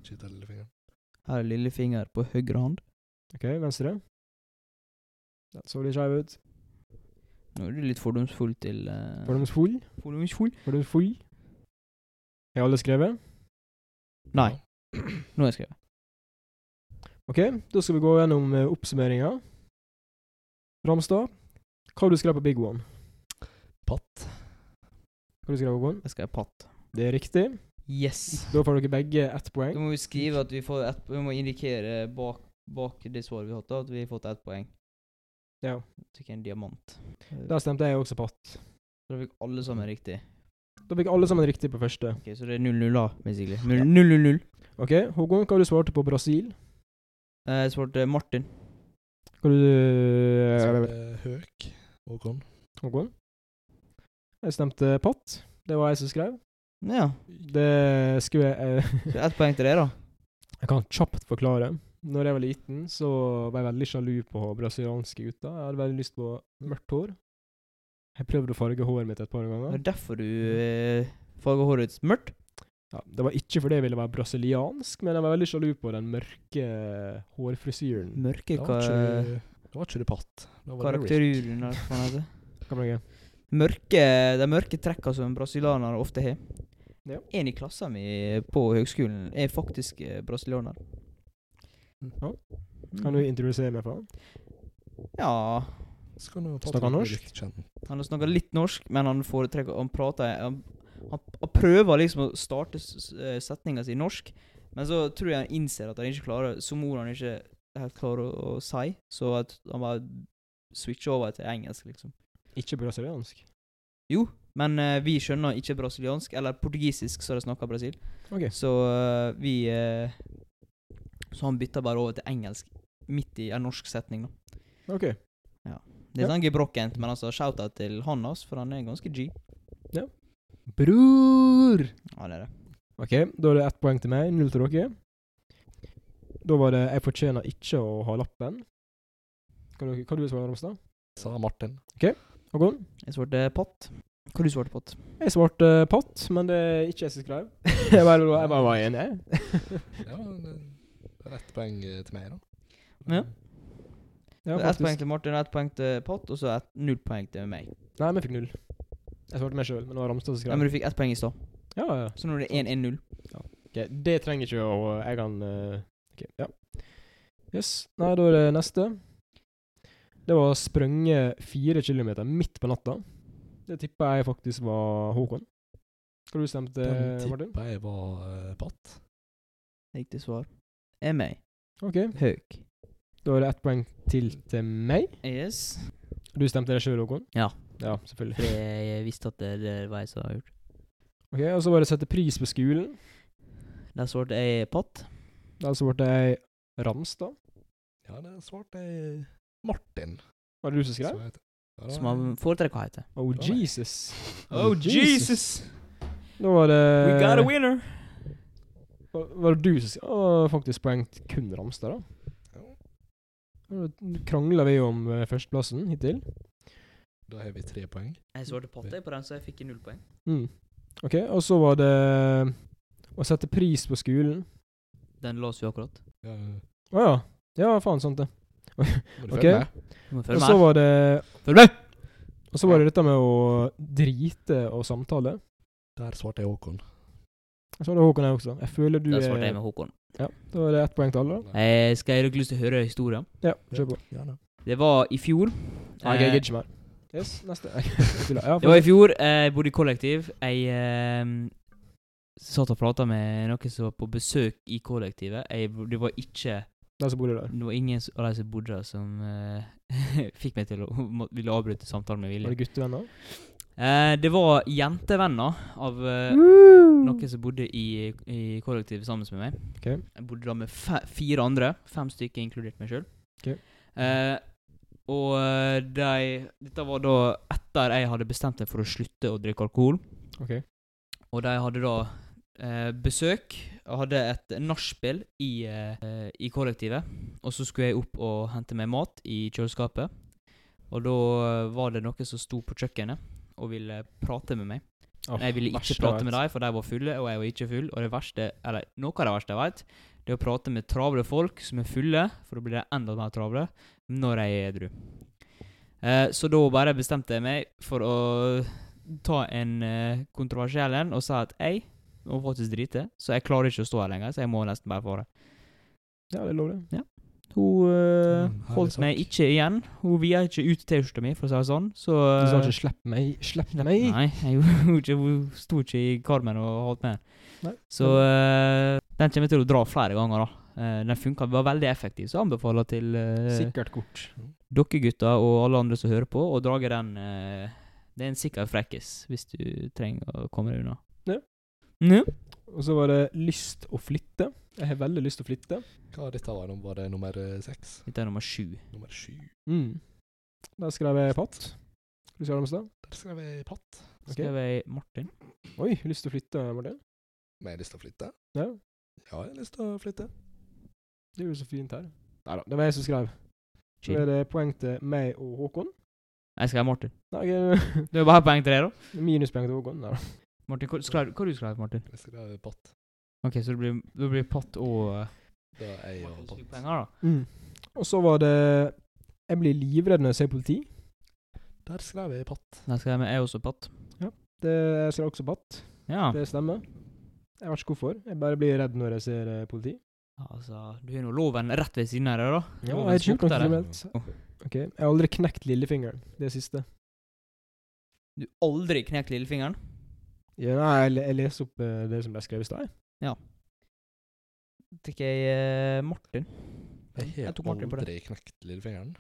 Skyter lillefingeren. Her er lillefinger på høyre hånd. OK, venstre. Den så litt skeiv ut. Nå er du litt fordomsfull til eh, Fordomsfull. Fordomsfull? Fordomsfull. Har alle skrevet? Nei, nå har jeg skrevet. OK, da skal vi gå gjennom eh, oppsummeringa. Ramstad, hva har du skrevet på Big One? Patt. Hva har du skrevet på One? Jeg skrev patt. Det er riktig. Yes! Da får dere begge ett Da poeng. må vi skrive at vi får ett Vi må indikere bak, bak det svaret vi har hatt, da, at vi har fått ett poeng. Ja. Tok en diamant. Eh, Der stemte jeg også patt. Da fikk alle sammen riktig. Da fikk alle sammen riktig på første. Ok, Så det er 0-0, da, basically. 0-0-0. OK, Håkon, hva har du svarte på Brasil? Jeg svarte Martin. Hva har du Eh, eh, Så er det Høk. Håkon. Håkon? Jeg stemte patt. Det var jeg som skrev. Ja. Det skulle jeg eh, Så ett poeng til deg, da. Jeg kan kjapt forklare. Når jeg var liten, så var jeg veldig sjalu på brasilianske gutter. Jeg hadde veldig lyst på mørkt hår. Jeg prøvde å farge håret mitt et par Det ganger. er derfor du eh, farger håret ditt mørkt. Ja, det var ikke fordi jeg ville være brasiliansk, men jeg var veldig sjalu på den mørke hårfrisyren. Mørke Da ka var ikke du, da var ikke du Patt. Da var du Rick. karakteruren, eller hva faen heter det? Hva var det? mørke, de mørke trekka som brasilianere ofte har. Ja. En i Mm. klassen min på høgskolen er faktisk eh, brasilianer. Ja. Kan du introdusere meg for han? Ja Så kan du ta Snakker han til norsk? litt kjent. Han snakker litt norsk, men han foretrekker Han prater Han, han, han prøver liksom å starte s- s- setninga si i norsk, men så tror jeg han innser at han ikke klarer Som ord han ikke helt klarer å, å si, så at han bare switcher over til engelsk, liksom. Ikke brasiliansk? Jo, men eh, vi skjønner ikke brasiliansk, eller portugisisk, som de snakker i Brasil. Ok. Så eh, vi eh, Så han bytter bare over til engelsk midt i en norsk setning, da. Ok. Det er Ja. sånn gebrokkent, men altså shout-out til han, altså, for han er ganske G. Bror! Ja, det er det. Ok, da er det ett poeng til meg, null til dere. Da var det 'Jeg fortjener ikke å ha lappen'. Kan du, kan du svare, Romstad? Sa Martin. Håkon? Jeg svarte patt. Hva du svarte patt? Jeg svarte eh, patt, men det er ikke jeg som skrev. jeg bare, jeg bare var enig, jeg. Ja, det det er ett poeng eh, til meg, da. Ja. Ja, ett poeng faktisk. til Martin, ett poeng til Pott, og så ett null poeng til meg. Nei, men jeg fikk null. Jeg svarte meg sjøl, men det var Ramstad som Ja, skrev. men du fikk ett poeng i stad, Ja, ja, ja. så nå er det 1-1-0. Ok, det trenger ikke å Jeg kan eh, Ok, ja. Yes. Nei, da er det neste. Det var å sprenge fire kilometer midt på natta. Det tippa jeg faktisk var Håkon. Hva du stemte Eh, Den du, Martin? tippa jeg var eh, patt. Riktig svar er meg. Ok, Høg. Da er det ett poeng til til meg. Yes. Du stemte det sjøl, Håkon? Ja. Ja, selvfølgelig. Fordi jeg visste at det det var jeg som hadde gjort. Ok, Og så var det sette pris på skolen. Da svarte jeg patt. Da svarte jeg Ramstad. Ja, det svarte jeg Martin. Var det du som Så skrev? jeg t- Ja, da- Som han foretrekker å hete. Oh, det var meg. Jesus. Da var det winner! Var var det du som skrev? Å, faktisk poeng til kun Ramstad, da. Ja, Nå krangler vi om eh, førsteplassen hittil. Da har vi tre poeng. Jeg svarte patt jeg på den, så jeg fikk null poeng. Mm. Ok, og så var det eh, å sette pris på skolen. Den låser vi akkurat. Ja, men Å ja. Ja, faen, sant det. du Ok. følger med. Du må Og følge så med. var det Følg med! Og så var det dette med å drite og samtale. Der svarte jeg Håkon. Jeg så det Håkon her også. Jeg føler du eh, Da er svarte jeg med Håkon. Ja, Da er det ett poeng til alle, da. Eh, skal dere lyst til å høre historien? Ja, kjør på. Gjerne. Det var i fjor. Nei, jeg gidder ikke mer. Yes, neste. Jeg tuller. Ja, Eh, Det for, var i fjor. eh, Jeg bodde i kollektiv. Jeg eh, satt og prata med noen som var på besøk i kollektivet. Jeg, det var ikke den som bodde der. Det var ingen s- av de som bodde der, som eh, fikk meg til å må- ville avbryte samtalen med Var vilje. det guttevenner? Eh, det var jentevenner av eh, Mm. noen som bodde i, i kollektivet sammen med meg. Ok. Jeg bodde da med fe fire andre, fem stykker inkludert meg sjøl. Ok. Eh, og eh, de Dette var da etter jeg hadde bestemt meg for å slutte å drikke alkohol. Ok. Og de hadde da eh, besøk og hadde et nachspiel i, eh, i kollektivet. Og så skulle jeg opp og hente meg mat i kjøleskapet. Og da eh, var det noen som sto på kjøkkenet og ville prate med meg. Åh, Men jeg ville ikke verste prate jeg med vet. dem, for de var fulle, og jeg var ikke full. Og det verste, eller noe av det verste jeg vet, det er å prate med travle folk som er fulle, for da blir de enda mer travle, når jeg er edru. Eh, så da bare bestemte jeg meg for å ta en eh, kontroversiell en og sa at jeg må faktisk drite, så jeg klarer ikke å stå her lenger, så jeg må nesten bare fare. Ja, det er lov, det. Hun eh, Mm, herlig holdt sagt. meg ikke igjen. Hun via ikke ut T-skjorta mi, for å si det sånn. Så Du sa eh, ikke 'slipp meg', 'slipp meg'. Nei, jeg gjorde ikke, hun sto ikke i karmen og holdt med. Nei. Så eh, den kommer jeg til å dra flere ganger, da. Eh, den funka, var veldig effektiv, så jeg anbefaler til uh, Sikkert kort. dere gutter og alle andre som hører på, å drage den. eh, det er en sikker frekkis hvis du trenger å komme deg unna. Ja. Nå? Og så var det lyst å flytte. Jeg har veldig lyst til å flytte. Hva dette var nå? Var det nummer eh, seks? Dette er nummer sju. Nummer sju? Mm. Der skrev jeg patt. Du skal ha det med sted? Der skrev jeg patt. Ok. Skrev jeg Martin? Oi, lyst til å flytte, Martin. Men jeg har lyst til å flytte. Ja, Ja, jeg har lyst til å flytte. det er jo så fint her. Neida, det var jeg som skrev. Så Chill. er det poeng til meg og Håkon. Jeg skrev Martin. Nei, ok, Det er bare poeng til deg, da. minuspoeng til Håkon. Neida. Martin, hva skrev hva du skrev Martin? Jeg skrev patt. Ok, Så det blir, det blir Patt og eh, Da er jeg og Martin som fikk patt. penger, da. Og så var det Jeg blir livredd når jeg ser politi. Der skrev jeg patt. Da skrev jeg også Patt. Det jeg skrev også patt. Ja. Det stemmer. Jeg vet ikke hvorfor. Jeg bare blir redd når jeg ser eh, politi. Altså, du har nå loven rett ved siden av deg, da. Ja, altså. Loven jeg har ikke gjort noe skopte deg. kriminelt. Ok, Jeg har aldri knekt lillefingeren. Det siste. Du aldri knekt lillefingeren? Ja, nei, jeg, le- jeg leser opp eh, det som ble skrevet i stad. Tok jeg eh, Martin? Jeg Jeg tok har Martin på det. aldri knekt lillefingeren.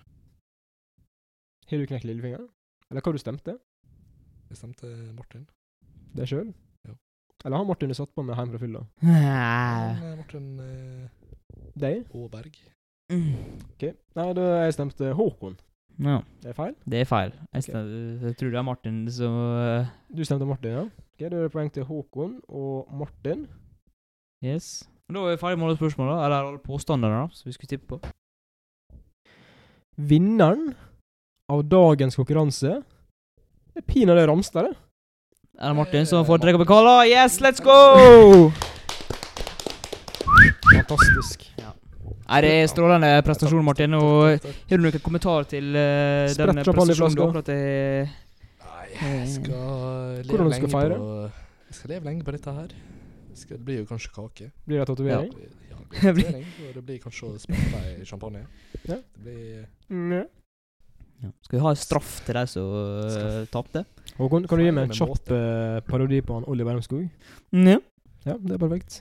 Har du knekt lillefingeren? Eller hva du stemte? Jeg stemte Martin. Det sjøl? Ja. Eller har Martin satt på med hjem fra fylla? Men, Mm. eh, Martin eh, Deg? Aaberg. Ok. Nei, da jeg stemte Håkon. Mm. Ja, Det er feil. det er feil. Jeg, stem- jeg tror det er Martin som eh, Du stemte Martin, ja? Ok, Da er det poeng til Håkon og Martin. Yes. Da er vi ferdig med alle spørsmål, da. Eller alle påstander, da, som vi skulle tippe på. Vinneren av dagens konkurranse Det er pinadø Ramstad, det. Er det Martin som Eh, får trekke Martin. på kalla? Yes, let's go! Fantastisk. Nei, det er strålende prestasjon, Martin. Og Takk, takk, takk. har du noen kommentar til eh, Sprett den champagne i prestasjonen du flaska. akkurat eh, har Nei, jeg skal leve Hvordan lenge skal du feire? på Jeg skal leve lenge på dette her. Skal, det blir jo kanskje kake. Blir det tatovering? Det blir- Ja, det blir tatovering, og det blir kanskje å sprette i champagne. Ja. Det blir Ja. Ja. Skal vi ha straff til de som eh, uh, tapte? Håkon, kan du gi meg en Feire med kjapp eh, parodi på han Oliver Wermskog? Ja. Ja, det er perfekt.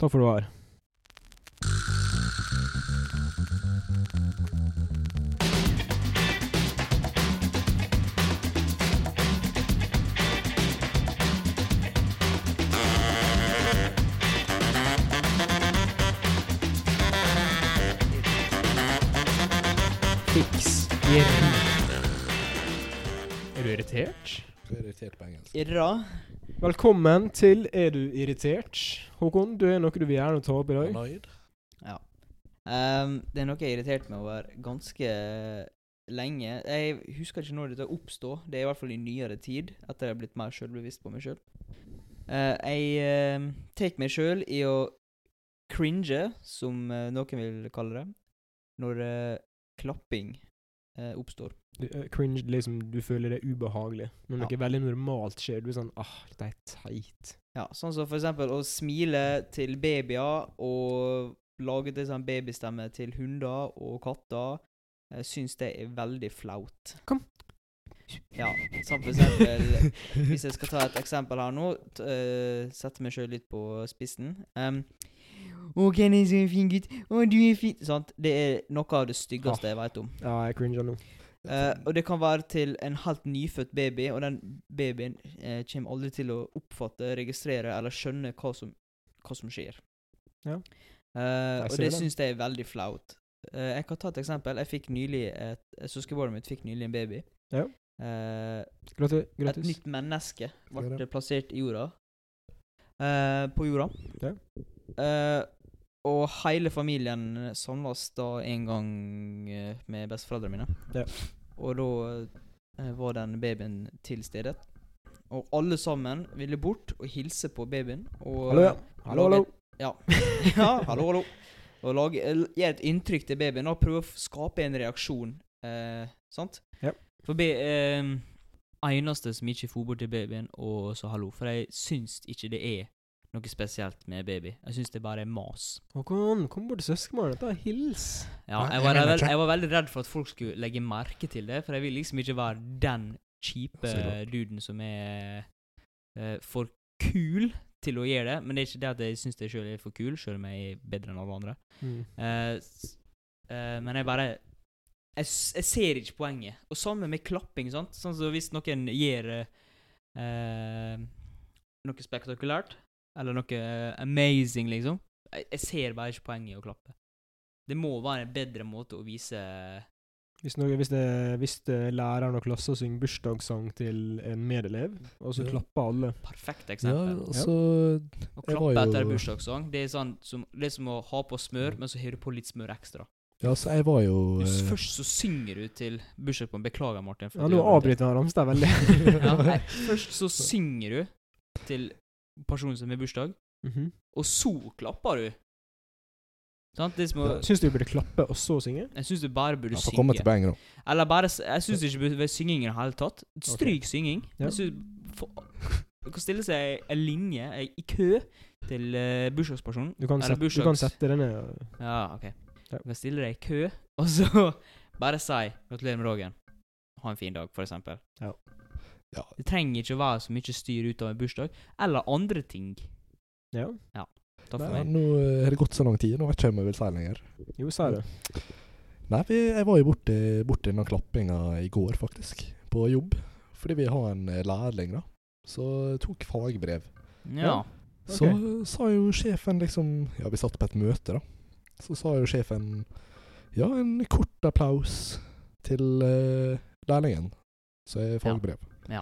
Takk for at du var her. Fiks. Er du irritert? prioritert på engelsk. Irra. Velkommen til Er du irritert? Håkon, du er noe du vil gjerne ta opp i dag. Fornøyd? Ehm, det er noe jeg har irritert meg over ganske lenge. Jeg husker ikke når dette oppstod. Det er i hvert fall i nyere tid, etter jeg har blitt mer selvbevisst på meg sjøl. jeg uh, tar meg sjøl i å cringe, som eh, noen vil kalle det, når eh, klapping eh, oppstår. Du, eh, cringe, liksom, du føler det er ubehagelig. Når noe veldig normalt skjer, du er sånn ah, dette er teit. Ja, sånn som for eksempel å smile til babyer og lage til sånn babystemme til hunder og katter. Jeg syns det er veldig flaut. Kom. Ja, sånn for eksempel Hvis jeg skal ta et eksempel her nå, t eh, sette meg sjøl litt på spissen. Um, å, Kenneth, så fin gutt. Å, du er fin. Sant? Det er noe av det styggeste jeg veit om. Ja, jeg cringer nå. Eh, og det kan være til en helt nyfødt baby, og den babyen eh, kommer aldri til å oppfatte, registrere eller skjønne hva som, hva som skjer. Ja. Eh, og ser det den. syns jeg er veldig flaut. Eh, jeg kan ta et eksempel. Jeg fikk nylig et, et Søskenbarnet mitt fikk nylig en baby. Ja. Eh, Gratu- et Grattis. nytt menneske Gratulerer. ble plassert i jorda. Eh, på jorda. Ja. Eh, og hele familien samles da en gang eh, med besteforeldrene mine. Ja. Og da eh, var den babyen til stede. Og alle sammen ville bort og hilse på babyen. Og, Hallo, ja. Hallo, hallo. ja, hallo, hallo. Og lage, eh, eller gi et inntrykk til babyen og prøve å f- skape en reaksjon. Eh, sant? For be, ehm, eneste som ikke for bort til babyen og sa hallo, for jeg syns ikke det er noe spesielt med baby. Jeg syns det bare er mas. Håkon, kom bort til søskenbarnet ditt og hils. Ja, jeg, Nei, jeg var mener vel, ikke. jeg var veldig redd for at folk skulle legge merke til det, for jeg vil liksom ikke være den kjipe Så rart. duden som er eh, for kul til å gjøre det. Men det er ikke det at jeg syns jeg sjøl er for kul, sjøl om jeg er bedre enn alle andre. Mm. Eh, s- eh, men jeg bare jeg, s- jeg ser ikke poenget. Og sammen med klapping, sant. Sånn som hvis noen gjør eh, eh, noe spektakulært, eller noe eh, amazing, liksom. Jeg, jeg ser bare ikke poenget i å klappe. Det må være en bedre måte å vise Hvis, noe, hvis, det, hvis det læreren og klassen synger bursdagssang til en medelev, og så Ja. klapper alle Perfekt Ja, eksempel. altså å jeg klappe var jo- etter bursdagssang, det er sånn som, det er som å ha på smør, men så har du på litt smør ekstra. Ja, så jeg var jo Du, s- eh, først så synger du til bursdag på en Beklager, Martin. for Ja, at nå jeg avbrøt deg. avbryter han Ramstad veldig. Ja, nei, først så synger du til personen som har bursdag, Mhm. og så klapper du. Sant? Det er som å Syns du vi burde klappe og så synge? Jeg syns du bare burde Ja, Få komme synge. til poenget nå. Eller bare s- Jeg syns ikke du bør synging i det hele tatt. Stryk synging. Ja. Jeg synes, for, du kan stille seg i en linje, ei- i kø, til eh, bursdagspersonen. Du kan, Eller sette, du kan bursdags- sette det ned. Ja, ok. Ja. Du kan stille deg i kø, og så bare si 'gratulerer med dagen'. Ha en fin dag, for eksempel. Ja. Ja. Det trenger ikke å være så mye styr ut av en bursdag, eller andre ting. Ja. Takk for Nei, meg. nå eh, har det gått så lang tid, nå vet ikke jeg om jeg vil si lenger. Jo, si det. Nei, vi, jeg var jo borti, borti denne klappinga i går, faktisk. På jobb. Fordi vi har en eh, lærling, da. Så tok fagbrev. Ja. Så sa jo sjefen liksom Ja, vi satt på et møte, da. Så sa jo sjefen Ja, en kort applaus til eh, lærlingen. Så er fagbrev. Ja.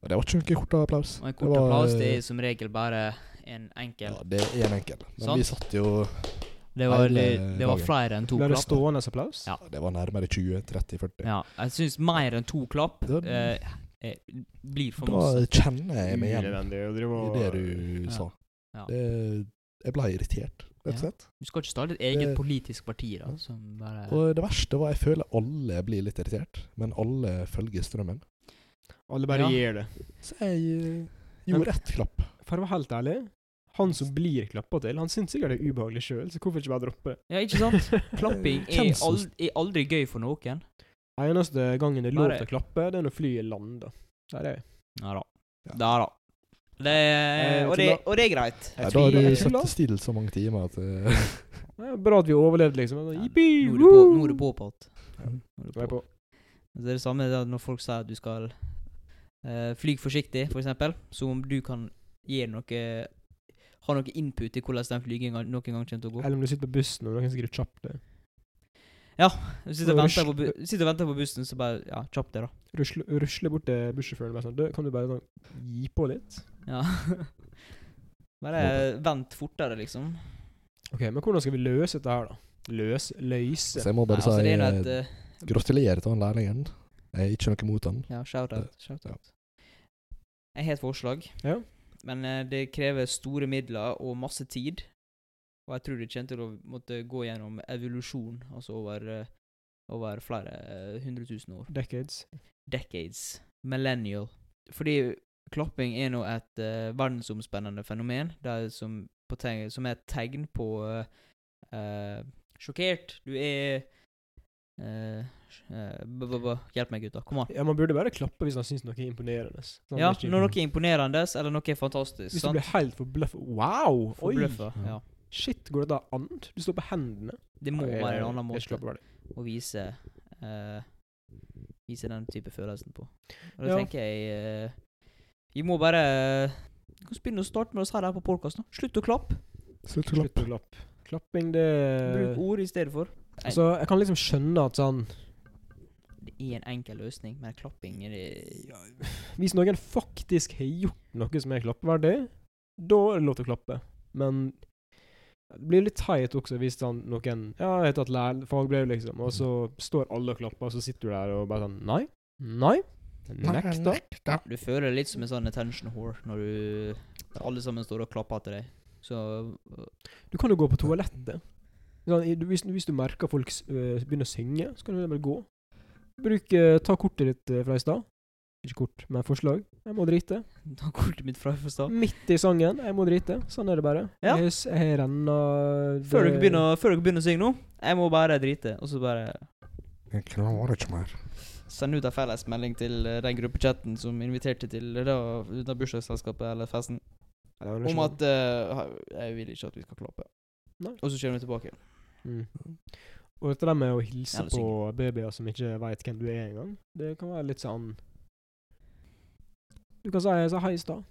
Og det var ikke noen kort applaus. Og en kort var, applaus eh, det er som regel bare en enkel. Ja, det er én enkel. Men Sant. vi satt jo Det var, hele det var dagen. flere enn to Blir det klapp. stående applaus? Ja. Det var nærmere 20, 30, 40. Ja, jeg syns mer enn to klapp Det- eh, eh, blir for Da masse. kjenner jeg meg igjen i det du Ja. sa. Ja. Det, jeg ble irritert, rett og Ja. slett. Du skal ikke starte et eget det- politisk parti, da, som bare Og det verste var jeg føler alle blir litt irritert, men alle følger strømmen. Alle bare Ja. gir det. Så jeg eh, gjorde ett klapp. For å være helt ærlig, han som blir klappa til, han syns sikkert det er ubehagelig sjøl, så hvorfor ikke bare droppe det? Ja, ikke sant? Klapping er Hvem som- aldri, er aldri gøy for noen. Eneste gangen det er lov Bare- til å klappe, det er når flyet lander. Der er jeg. Ja da. Ja. Da da. Det, Eh, og, det, og det er greit. Nei, Jeg da tviler- har du jeg tuller. satt stille så mange timer at eh, Det er Bra at vi overlevde, liksom. Ja, Jippi! Nå er det på- nå er det påpått. Ja. Nå er Nå er det jeg på. på. Så Det er det samme der når folk sier at du skal eh, fly forsiktig, for eksempel. Som om du kan gi noe Ha noe input i hvordan den flyginga noen gang kommer til å gå. Eller om du sitter på bussen og noen eh, skriver 'kjapp det'. Du sitter Når du og venter på, bu sl- sitter og venter på bussen, så bare Ja, kjapp det, da. Rusle, rusle bort til bussjåføren og bare sånn «Du, 'Kan du bare sånn gi på litt?' Ja. Bare vent fortere, liksom. Ok, Men hvordan skal vi løse dette her, da? Løs? Løse? Så jeg må Nei, bare altså, det er nå si et eh, eh, gratulerer til han lærlingen. Jeg er ikke noe mot han. Ja, shout-out. Shout ja. Jeg har et forslag, Ja. men eh, det krever store midler og masse tid. Og jeg tror det kommer til å måtte gå gjennom evolusjon, altså over, eh, over flere eh, hundre tusen år. Decades. Decades. Millennial. Fordi klapping er nå et eh, verdensomspennende fenomen, der som, på teg som er et tegn på eh, eh, Sjokkert. Du er eh, sj- eh, b- b- b- Hjelp meg, gutta. Kom an. Ja, Man burde bare klappe hvis han syns noe er imponerende. Sånn, Ja, det er ikke- når noe er imponerende, eller noe er fantastisk. Hvis du sant? blir helt forbløffa Wow! Oi! Forbløffa. Ja. Shit, går det da an? Du står på hendene. Det må Nei, være jeg- en jeg annen måte slapper bare det. å vise eh, Vise den type følelsen på. Og da Ja. tenker jeg eh, Vi må bare Vi kan begynne å starte med oss her, her på podkasten. Slutt å klappe. Slutt å Slutt klappe. å klappe. Klapping, det Bruk ord i stedet for. Altså, jeg kan liksom skjønne at sånn Det er en enkel løsning, men klapping er det Hvis noen faktisk har gjort noe som er klappeverdig, da er det lov til å klappe. Men det blir litt teit også hvis sånn noen Ja, jeg har tatt lær fagbrev, liksom, og så står alle og klapper, og så sitter du der og bare sånn Nei. Nei. Nekta. Du føler deg litt som en sånn attention whore når du alle sammen står og klapper til deg. Så eh, Du kan jo gå på toalettet. Sånn, i- du- hvis, hvis du merker folk s- øh, begynner å synge, så kan du bare gå. Bruk, eh, ta kortet ditt eh, fra i stad. Ikke kort, men forslag. Jeg må drite. ta kortet mitt fra i stad. Midt i sangen. Jeg må drite. Sånn er det bare. Ja. Jeg, s- jeg renner Før dere begynner, før dere begynner å synge nå, jeg må bare drite. Og så bare Jeg klarer ikke mer. sende ut en felles melding til eh, den gruppechatten som inviterte til eh, da, da bursdagsselskapet eller festen, om at eh, ha- jeg vil ikke at vi skal klappe. Nei. Og så kommer vi tilbake. mm. Og dette der med å hilse Eller på babyer som ikke veit hvem du er engang, det kan være litt sånn Du kan si jeg sa hei i stad.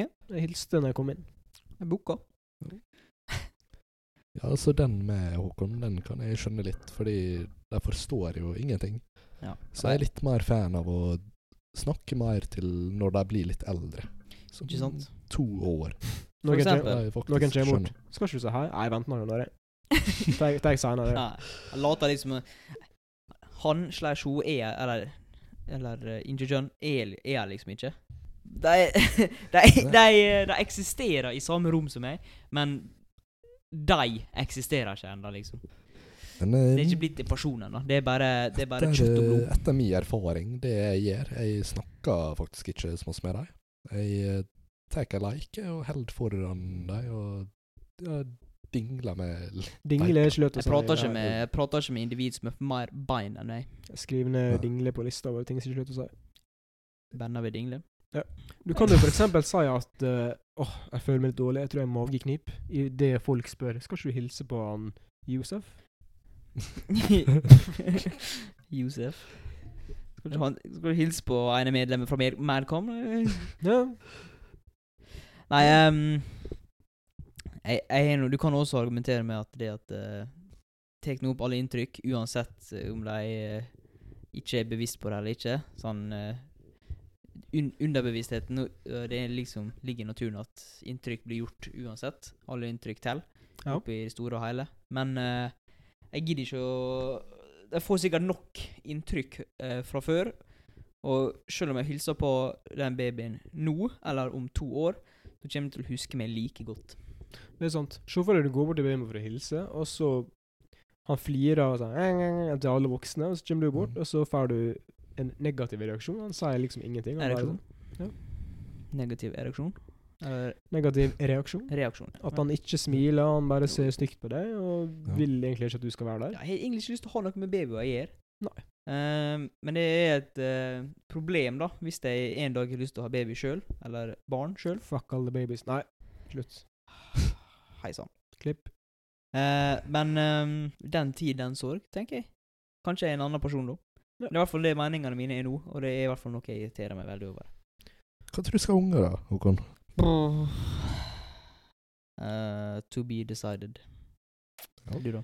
Ja. Jeg hilste når jeg kom inn. Jeg booka. Ja, altså den med Håkon, den kan jeg skjønne litt, fordi de forstår jo ingenting. Ja. Så jeg er litt mer fan av å snakke mer til når de blir litt eldre. Som Ikke sant? To år. For Noen kjem- eksempel. Da jeg faktisk noen kommer bort. skjønner. Skal ikke du si hei? Nei, vent nå. Når jeg Tenk, tenk senere. Nei, jeg later litt som eh, han slash hun er Eller, eller eh, interkjønn er, er jeg liksom ikke. De, de, de, de eksisterer i samme rom som meg, men de eksisterer ikke ennå, liksom. Men, Det er eh, ikke blitt i personen, da. Det er bare, det er bare etter, kjøtt og blod. eh, Etter min erfaring, det jeg gjør Jeg snakker faktisk ikke sånn med dem. Jeg eh, tar ei leike og holder foran dem og ja, dingler med Dingle er ikke lov til å Jeg si. prater Nei. ikke med, jeg prater ikke med individ som er mer bein enn meg. Skriv ned Ja. dingle på lista over ting som ikke er lov til å si. Banner ved dingle. Du kan jo for eksempel si at eh, åh, jeg føler meg litt dårlig, jeg tror jeg har mageknip. I det folk spør skal ikke du hilse på han Josef? Josef. Skal du, ha, en- skal du hilse på ene medlemmet fra Mer- Madcom? Ja. Nei ehm, jeg, jeg, er nå- Du kan også argumentere med at det at uh, Tek nå opp alle inntrykk, uansett eh, om de eh, ikke er bevisst på det eller ikke. Sånn eh, un Underbevisstheten og- og Det er liksom ligger i naturen at inntrykk blir gjort uansett. Alle inntrykk teller, Ja. oppi det store og hele. Men eh, jeg gidder ikke å Jeg får sikkert nok inntrykk eh, fra før. Og selv om jeg hilser på den babyen nå, eller om to år, så kommer jeg til å huske meg like godt. Det er sant. Se for deg du går bort til Bremer for å hilse, og så han flirer og sånn «Eng, eng, eng», til alle voksne, og så kommer du bort, Mm. og så får du en negativ reaksjon. Han sier liksom ingenting. Han bare Ereksjon. Ja. Negativ ereksjon. Eller sånn, Negativ reaksjon. reaksjon. ja. At han ikke smiler, han bare ser stygt på deg, og Ja. vil egentlig ikke at du skal være der. Jeg har egentlig ikke lyst til å ha noe med babyer å gjøre. Nei. Ehm, men det er et eh, problem, da, hvis jeg en dag har lyst til å ha baby sjøl, eller barn sjøl. Fuck all the babies. Nei, slutt. Hei sann. Klipp. Eh, men ehm, den tid, den sorg, tenker jeg. Kanskje jeg er en annen person da. Ja. Det er i hvert fall det meningene mine er nå, og det er i hvert fall noe jeg irriterer meg veldig over. Hva tror du skal ha unger, da, Håkon? Eh, to be decided. Ja. Du, da?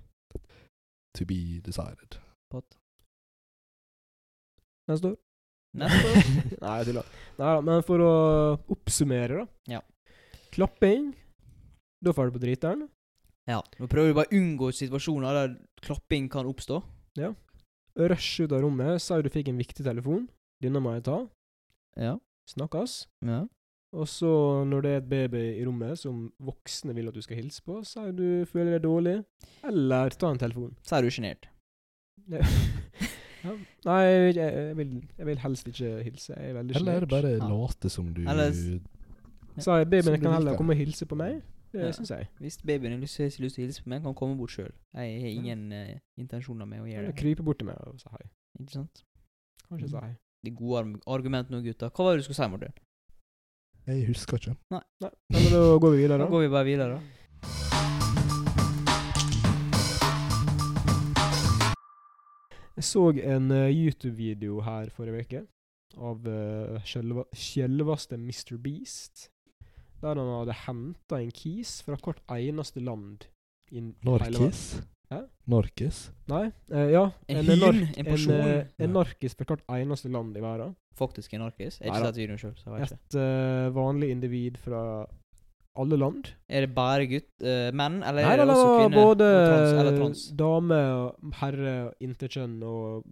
To be decided. Pott? Neste år. Neste år? Nei, jeg tuller. Nei da, men for å oppsummere, da. Ja. Klapping. Da får du på driteren. Ja. Nå prøver du bare å unngå situasjoner der klapping kan oppstå. Rush ut av rommet. Sier du fikk en viktig telefon. Denne må jeg ta. Ja. Snakkes. ja. Og så, når det er et baby i rommet som voksne vil at du skal hilse på, sier du føler deg dårlig, eller ta en telefon. Så er du sjenert. Det- ja. Nei, jeg, jeg, vil, jeg vil helst ikke hilse. Jeg er veldig Eller er det sjenert. bare Ja. late som du Eller s- Sier Som babyen du kan heller liker. komme og hilse på meg. Det Ja. synes jeg. Hvis babyen har lyst, har lyst til å hilse på meg, kan han komme bort sjøl. Jeg har ingen eh, intensjoner med å gjøre Eller det. krype bort til meg og si hei. Mm. Ikke sant? Kanskje si hei. Det er gode arg- argument nå, gutta. Hva var det du skulle si, Morten? Jeg husker ikke. Nei, Nei, men da går vi videre, Da da. går vi bare videre. da. Jeg så en eh, YouTube-video her forrige uke av eh, sjølva, sjølvaste Mr. Beast. Der han hadde henta en kis fra hvert eneste land. in- hele verden. Norkis. Hæ? Norkis. Nei, eh, ja. En En, hyn, nark- en en, person. eh, Ja. en narkis fra hvert eneste land i verden. Faktisk en narkis. Jeg har Neida. ikke sett videoen sjøl, så jeg vet ikke. Et eh, vanlig individ fra alle land. Er det bare gutt, eh, menn, eller Nei, er det det også var kvinner? både og trans, eller trans? dame, og herre, og interkjønn og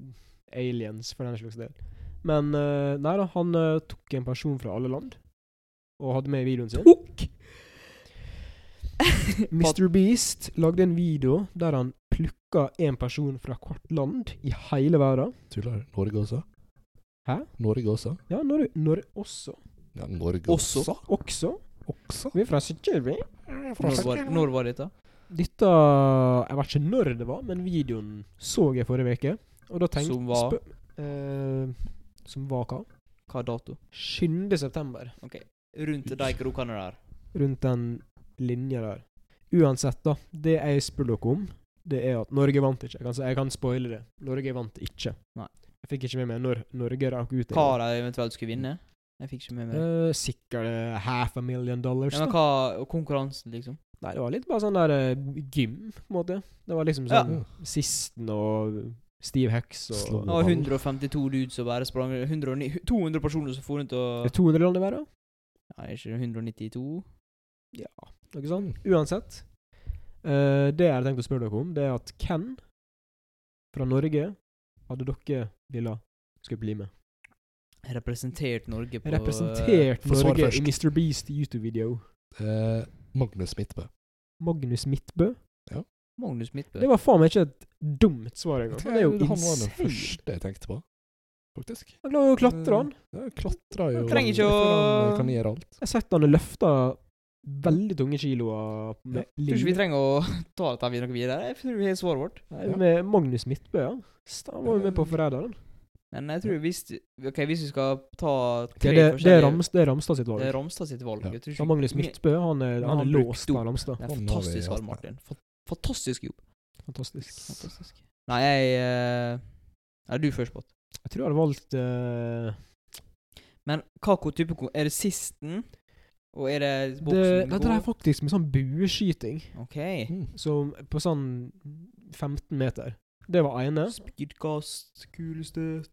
aliens, for den slags del. Men eh, nei da, han eh, tok en person fra alle land, og hadde med i videoen sin. Mr. Beast lagde en video der han plukka en person fra hvert land i hele verden. Tuller. Norge også? Hæ? Norge også? Ja, når, når også. Ja, Norge Også? Også. Også? Vi er fra Sikkerby. Når var, når var dette? Dette Jeg vet ikke når det var, men videoen så jeg forrige uke. Og da tenkte Som var? spø- eh, som var hva? Hva dato? 7. september. Rundt de krokene der. Rundt den linja der. Uansett, da. Det jeg spør dere om, det er at Norge vant ikke. Jeg kan, si- jeg kan spoile det. Norge vant ikke. Nei. Jeg fikk ikke med meg når Norge rakk ut. i Hva det. de eventuelt skulle vinne? Jeg fikk ikke med meg det. Eh, sikkert eh, half a million dollars. Ja, men da. hva og konkurransen, liksom? Nei, det var litt bare sånn der eh, gym, på en måte. Det var liksom Ja. sånn Sisten og Steve Hex og Slå Det var 152 dudes som bare sprang 109 200 personer som for rundt og Det er 200 land i verden. Nei, ikke 192? Ikke sant? Uansett. eh, det jeg hadde tenkt å spørre dere om, det er at hvem fra Norge hadde dere villet skulle bli med? Representert Norge på eh, Representert få svar Norge i først. Mr. Beast YouTube-video. Eh, Magnus Midtbø. Magnus Midtbø. Magnus Midtbø. Det var faen meg ikke et dumt svar engang. Jeg Det er tror jo Han var den insane. første jeg tenkte på. faktisk. Han klarer jo å klatre, han. Jeg klatrer jo Man trenger ikke å- Jeg eh, kan gjøre alt. Jeg har sett han har løfta veldig tunge kiloer med Tror ikke vi ling. trenger å ta dette videre noe videre. Jeg tror vi har svaret vårt. Nei, Med Magnus Midtbø, ja. Sta- Han var jo med på Forræderen. Men jeg tror hvis Ok, hvis vi skal ta Ja, tre det, det, er forskjellige Rams, det er Ramstad sitt valg. Det er Ramstad sitt valg. Ja. Jeg tror Ja, ikke Magnus mi- Midtbø han er, Men han han er brukt låst opp. av Ramstad. Det er Sånn har vi fantastisk hatt valg, det. Martin. Fa- Fantastisk jobb. Fantastisk. Fantastisk. Nei, jeg eh, Nei, du først, Bot. Jeg tror jeg hadde valgt eh, Men hva ko- type ko- Er det sisten? Og er det det, boksen? Dette er faktisk med sånn bueskyting, OK. Eh. Mm. som på sånn 15 meter. Det var ene. Spydkast, kulestøt,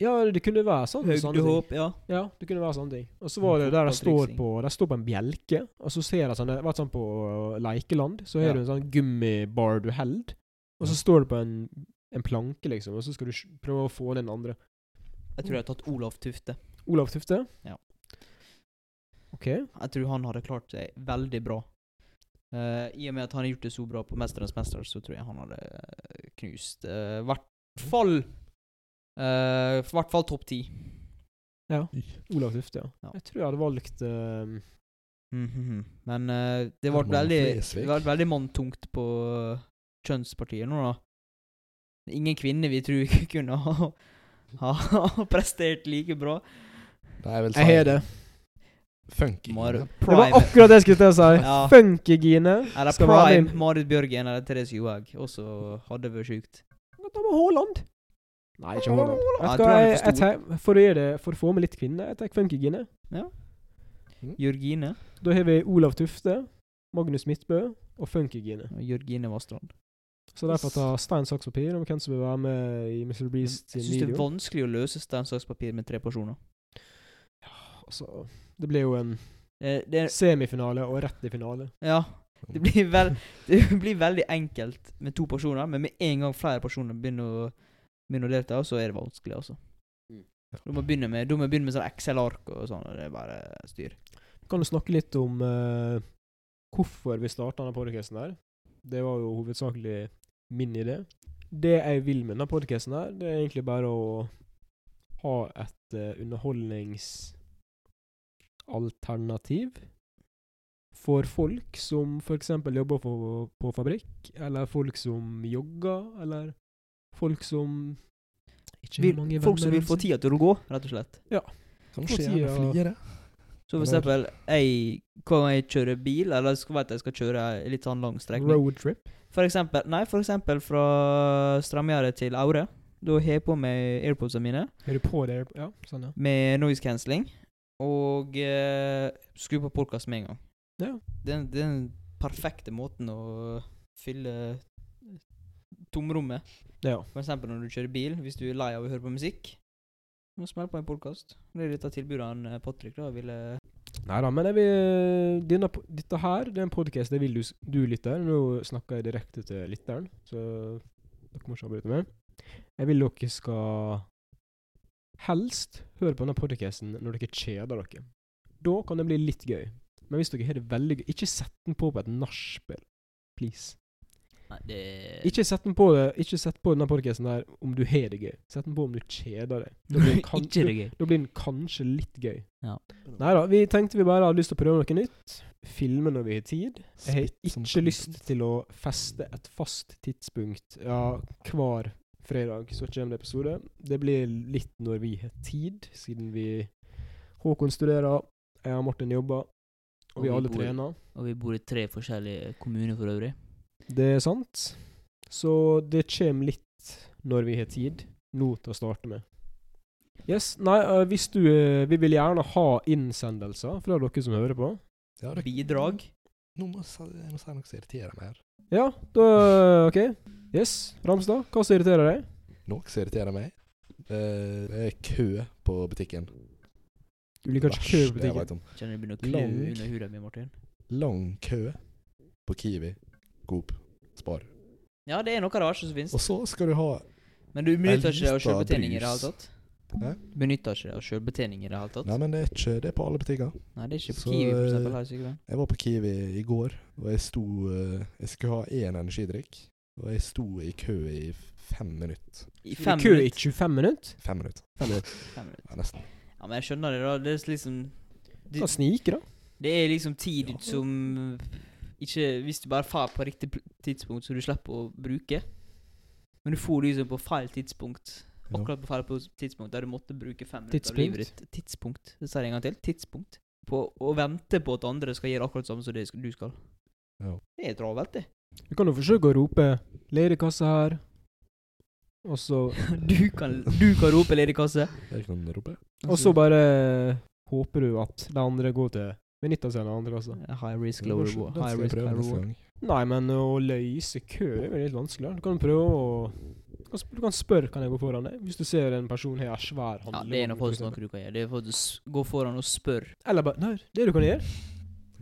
Ja, det kunne være sånn. sånne ting. høydehopp Ja. Ja, det kunne være sånne ting. Og så var det der de står på De står på en bjelke, og så ser jeg sånn Det har vært sånn på leikeland, så har Ja. du en sånn gummibar du held, og Ja. så står du på en, en planke, liksom, og så skal du sj- prøve å få den andre. Jeg tror jeg har tatt Olav Tufte. Olav Tufte? Ja. OK. Jeg tror han hadde klart seg veldig bra. Eh, I og med at han har gjort det så bra på 'Mesternes mester', så tror jeg han hadde eh, knust I hvert fall I hvert fall topp ti. Olav Tufte, ja. Ja. Jeg tror jeg hadde valgt eh, Mhm. Men eh, det ble Herman veldig, Flesvig. det ble veldig manntungt på eh, kjønnspartiet nå, da. Ingen kvinner vi tror kunne ha, ha prestert like bra. Nei, jeg vil Jeg har det. funky. Mar Det var Prime, akkurat det jeg skulle til å si. Ja. Funkygine. eller skal være Prime med- Marit Bjørgen eller Therese Johaug også hadde vært sjukt. Da var Haaland. Nei, ikke Haaland. Ja, jeg Vet du tror hva, han er jeg, for jeg stor. tar- for, å gjøre det, for å få med litt kvinner, jeg tar Funkygine. Jørgine. Da har vi Olav Tufte, Magnus Midtbø og Funkygine. Jørgine Vassdrand. Så derfor tar stein, saks, papir om hvem som vil være med i Mr. Jeg Breeze sin syns det er video. vanskelig å løse stein, saks, papir med tre personer. Altså, det blir jo en Eh, Det er, semifinale og rett i finale. ja. Det blir, vel, det blir veldig enkelt med to personer, men med en gang flere personer begynner å, begynner å delta, så er det vanskelig, altså. Du må begynne med, du må begynne med sånn Excel-ark og sånn, og det er bare styr. Kan du snakke litt om eh, hvorfor vi starta denne podcasten her? Det var jo hovedsakelig min idé. Det jeg vil med denne podcasten her, det er egentlig bare å ha et eh, underholdningsalternativ for folk som f.eks. jobber på, på fabrikk, eller folk som jogger, eller folk som ikke Vil, har mange venner. folk som vil få rundt seg. tida til å gå, rett og slett. Kanskje Få gjerne tida- flere. Så for eksempel, jeg, kan jeg kjøre bil, eller skal vet jeg skal kjøre en litt sånn lang strekning. Roadtrip. For eksempel, nei, for eksempel fra Stramgjerde til Aure. Da har jeg på meg airpodsene mine. Er du på det? Ja, sånn, ja. med noise cancelling og eh, skru på podkast med en gang. Ja. Det, er- det er den perfekte måten å fylle tomrommet ja. For eksempel når du kjører bil, hvis du er lei av å høre på musikk. Må smelle på en podkast. Det er dette tilbudet han eh, Patrick da ville Nei da, men jeg vil, denne, po- dette her det er en podkast jeg vil du, s- du lytter. Nå snakker jeg direkte til lytteren, så dere må ikke avbryte meg. Jeg vil dere skal helst høre på denne podkasten når dere kjeder dere. Da kan det bli litt gøy. Men hvis dere har det veldig gøy, ikke sett den på på et nachspiel. Please. Nei, det Ikke sett den på, det- ikke sett på denne podkasten her om du har det gøy. Sett den på om du kjeder deg. Da blir den kan- Ikke det gøy. da blir den kanskje litt gøy. Ja. Nei da, vi tenkte vi bare hadde lyst til å prøve noe nytt. Filme når vi har tid. Jeg har Spytt som ikke lyst content. til å feste et fast tidspunkt. Ja, hver fredag så kommer det episode. Det blir litt når vi har tid, siden vi Håkon studerer, jeg og Martin jobber, og Og vi vi alle bor. trener. Og vi bor i tre forskjellige kommuner for øvrig. Det er sant. Så det kommer litt når vi har tid, nå til å starte med. Yes, nei, øh, hvis du øh, Vi vil gjerne ha innsendelser fra dere som hører på. Ja, det- Bidrag. Nå må jeg si jeg må si noe som irriterer meg her. Ja, da eh, OK. Yes, Ramstad, hva som irriterer deg? Noe som irriterer meg. Eh, Det er kø på butikken. Du liker ikke kø Verste på jeg butikken. vet om. Kjenner det begynner å klø Lang. under huden min, Martin. Lang kø på Kiwi, Coop, Spar. Ja, det er noe av det verste som finnes. Og så skal du ha Men du benytter ikke deg av lista sjølbetjening i det hele brus. tatt? Hæ? Benytter ikke deg av sjølbetjening i det hele tatt? Nei, men det er ikke det er på alle butikker. Nei, det er ikke på Så, Kiwi, for eh, eksempel. Her, i Sykehuset. Jeg var på Kiwi i går, og jeg sto eh, Jeg skulle ha én energidrikk. Og jeg sto i kø i f- fem minutter. I I fem kø i minutter. 25 minutter? Fem minutter. Fem minutter. Fem minutter. Ja, nesten. Ja, men jeg skjønner det, da. Det er liksom Kan snike, da. Det er liksom tid Ja. som ikke Hvis du bare drar på riktig pl- tidspunkt, så du slipper å bruke. Men du får liksom på feil tidspunkt. Ja. Akkurat på feil pos- tidspunkt der du måtte bruke fem minutter av Tidspunkt. livet ditt. Tidspunkt. Det sier jeg en gang til. Tidspunkt. På å vente på at andre skal gjøre akkurat samme som det sk- du skal. Ja. Det er travelt, det. Du kan jo forsøke å rope 'ledig kasse her', og så Du kan, du kan rope ledig kasse. Jeg kan rope. Altså- Og så bare håper du at de andre går til Benita seg den andre kassa. High risk, Det low var sj- reward. den High skal jeg risk, prøve high neste reward. gang. Nei, men å løse kø er jo litt vanskelig. Du kan prøve å du kan sp- Du kan spørre kan jeg gå foran deg, eh, hvis du ser en person har en svær Ja, handlevogn. det er noe for folk eksempel. snakker du kan gjøre. Det er for at du s- går foran og spør. Eller bare Nei, det du kan gjøre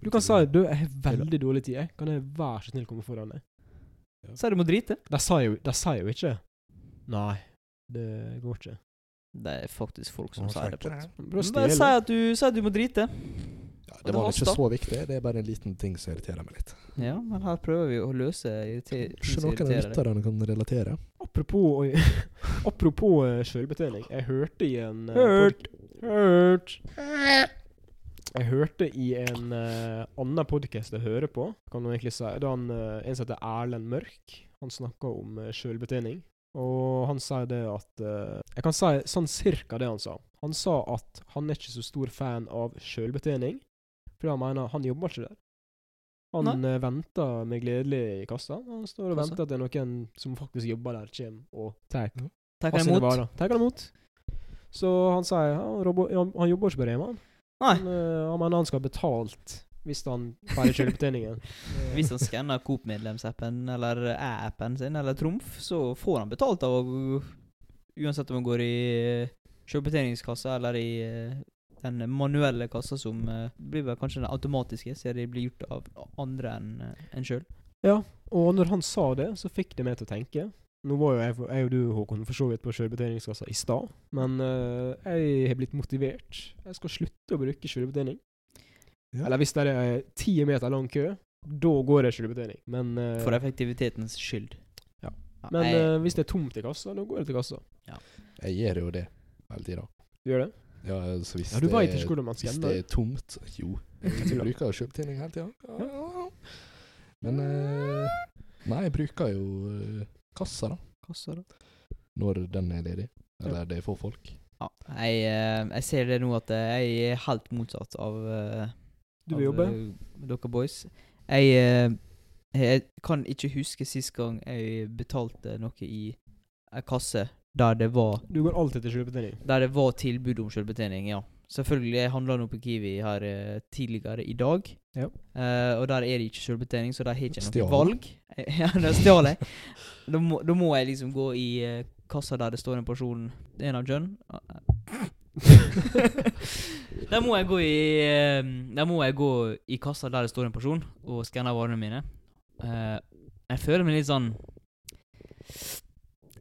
Du kan si du, jeg har veldig dårlig tid. jeg. Kan jeg være så snill komme foran deg? Så er det må drite. De sier jo, de sier jo ikke Nei, det går ikke. Det er faktisk folk Å, som sier det. snakker på jeg. Prøv å Men Bare si stjele. at du, si at du må drite. Ja, det det var haster. ikke så viktig, det er bare en liten ting som irriterer meg litt. Ja, men her prøver vi å løse irrite- ting Kanskje Eh, som noen av irriterer deg. lytterne kan relatere. Apropos, oi, apropos eh, selvbetjening. Jeg hørte i en eh, Hørt. pod- Hørt. Jeg hørte i en eh, annen podkast jeg hører på, kan man egentlig si. Det er han, eh, en som heter Erlend Mørk. Han snakker om uh, selvbetjening. Og han sier det at eh, Jeg kan si sånn cirka det han sa. Han sa at han er ikke så stor fan av selvbetjening, fordi han mener han jobber ikke der. Han eh, venter med gledelig i kassa. Han står og Kassa. venter at det er noen som faktisk jobber der, kommer og tar Takk av han sine imot. varer. Tar han imot. Så han sier ja, han robber- han, han jobber ikke på Rema. han. Nei. Han, eh, han mener han skal ha betalt hvis han feirer kjølebetjeningen. Hvis han skanner Coop-medlemsappen eller æ-appen sin eller Trumf, så får han betalt av å- Uansett om han går i selvbetjeningskassa eller i eh, den manuelle kassa som eh, blir vel kanskje den automatiske, siden de blir gjort av andre enn en sjøl. Og når han sa det, så fikk det meg til å tenke. Nå var jo jeg, jeg og du, Håkon, for så vidt på kjølebetjeningskassa i stad, men eh, jeg har blitt motivert. Jeg skal slutte å bruke kjølebetjening. Ja. Eller hvis det er eh, ti meter lang kø, da går jeg kjølebetjening. Men, eh, For effektivitetens skyld. Ja. Ja, men jeg- eh, hvis det er tomt i kassa, da går jeg til kassa. Jeg gjør jo det hele tida. Du gjør det? Ja, altså hvis, Ja, du det, veit ikke hvordan man hvis skanner. det er tomt Jo, jeg bruker jo kjøptjening hele tida. Men eh, Nei, jeg bruker jo eh, kassa, da. kassa, da. Når den er ledig. Eller det er få folk. Ja, jeg, eh, jeg ser det nå at eh, jeg er helt motsatt av eh, Du vil av, jobbe? eh, dere boys. Jeg, eh, jeg kan ikke huske sist gang jeg betalte noe i ei kasse der det var Du går alltid til kjølebetjening. Der det var tilbud om selvbetjening, ja. Selvfølgelig, jeg handla nå på Kiwi her eh, tidligere i dag. Ja. Eh, og der er det ikke selvbetjening, så der har jeg ikke Stjal. noe valg. ja, da stjal jeg. Da må, da må jeg liksom gå i eh, kassa der det står en person En av John. der må jeg gå i eh, Der må jeg gå i kassa der det står en person, og skanne varene mine. Eh, jeg føler meg litt sånn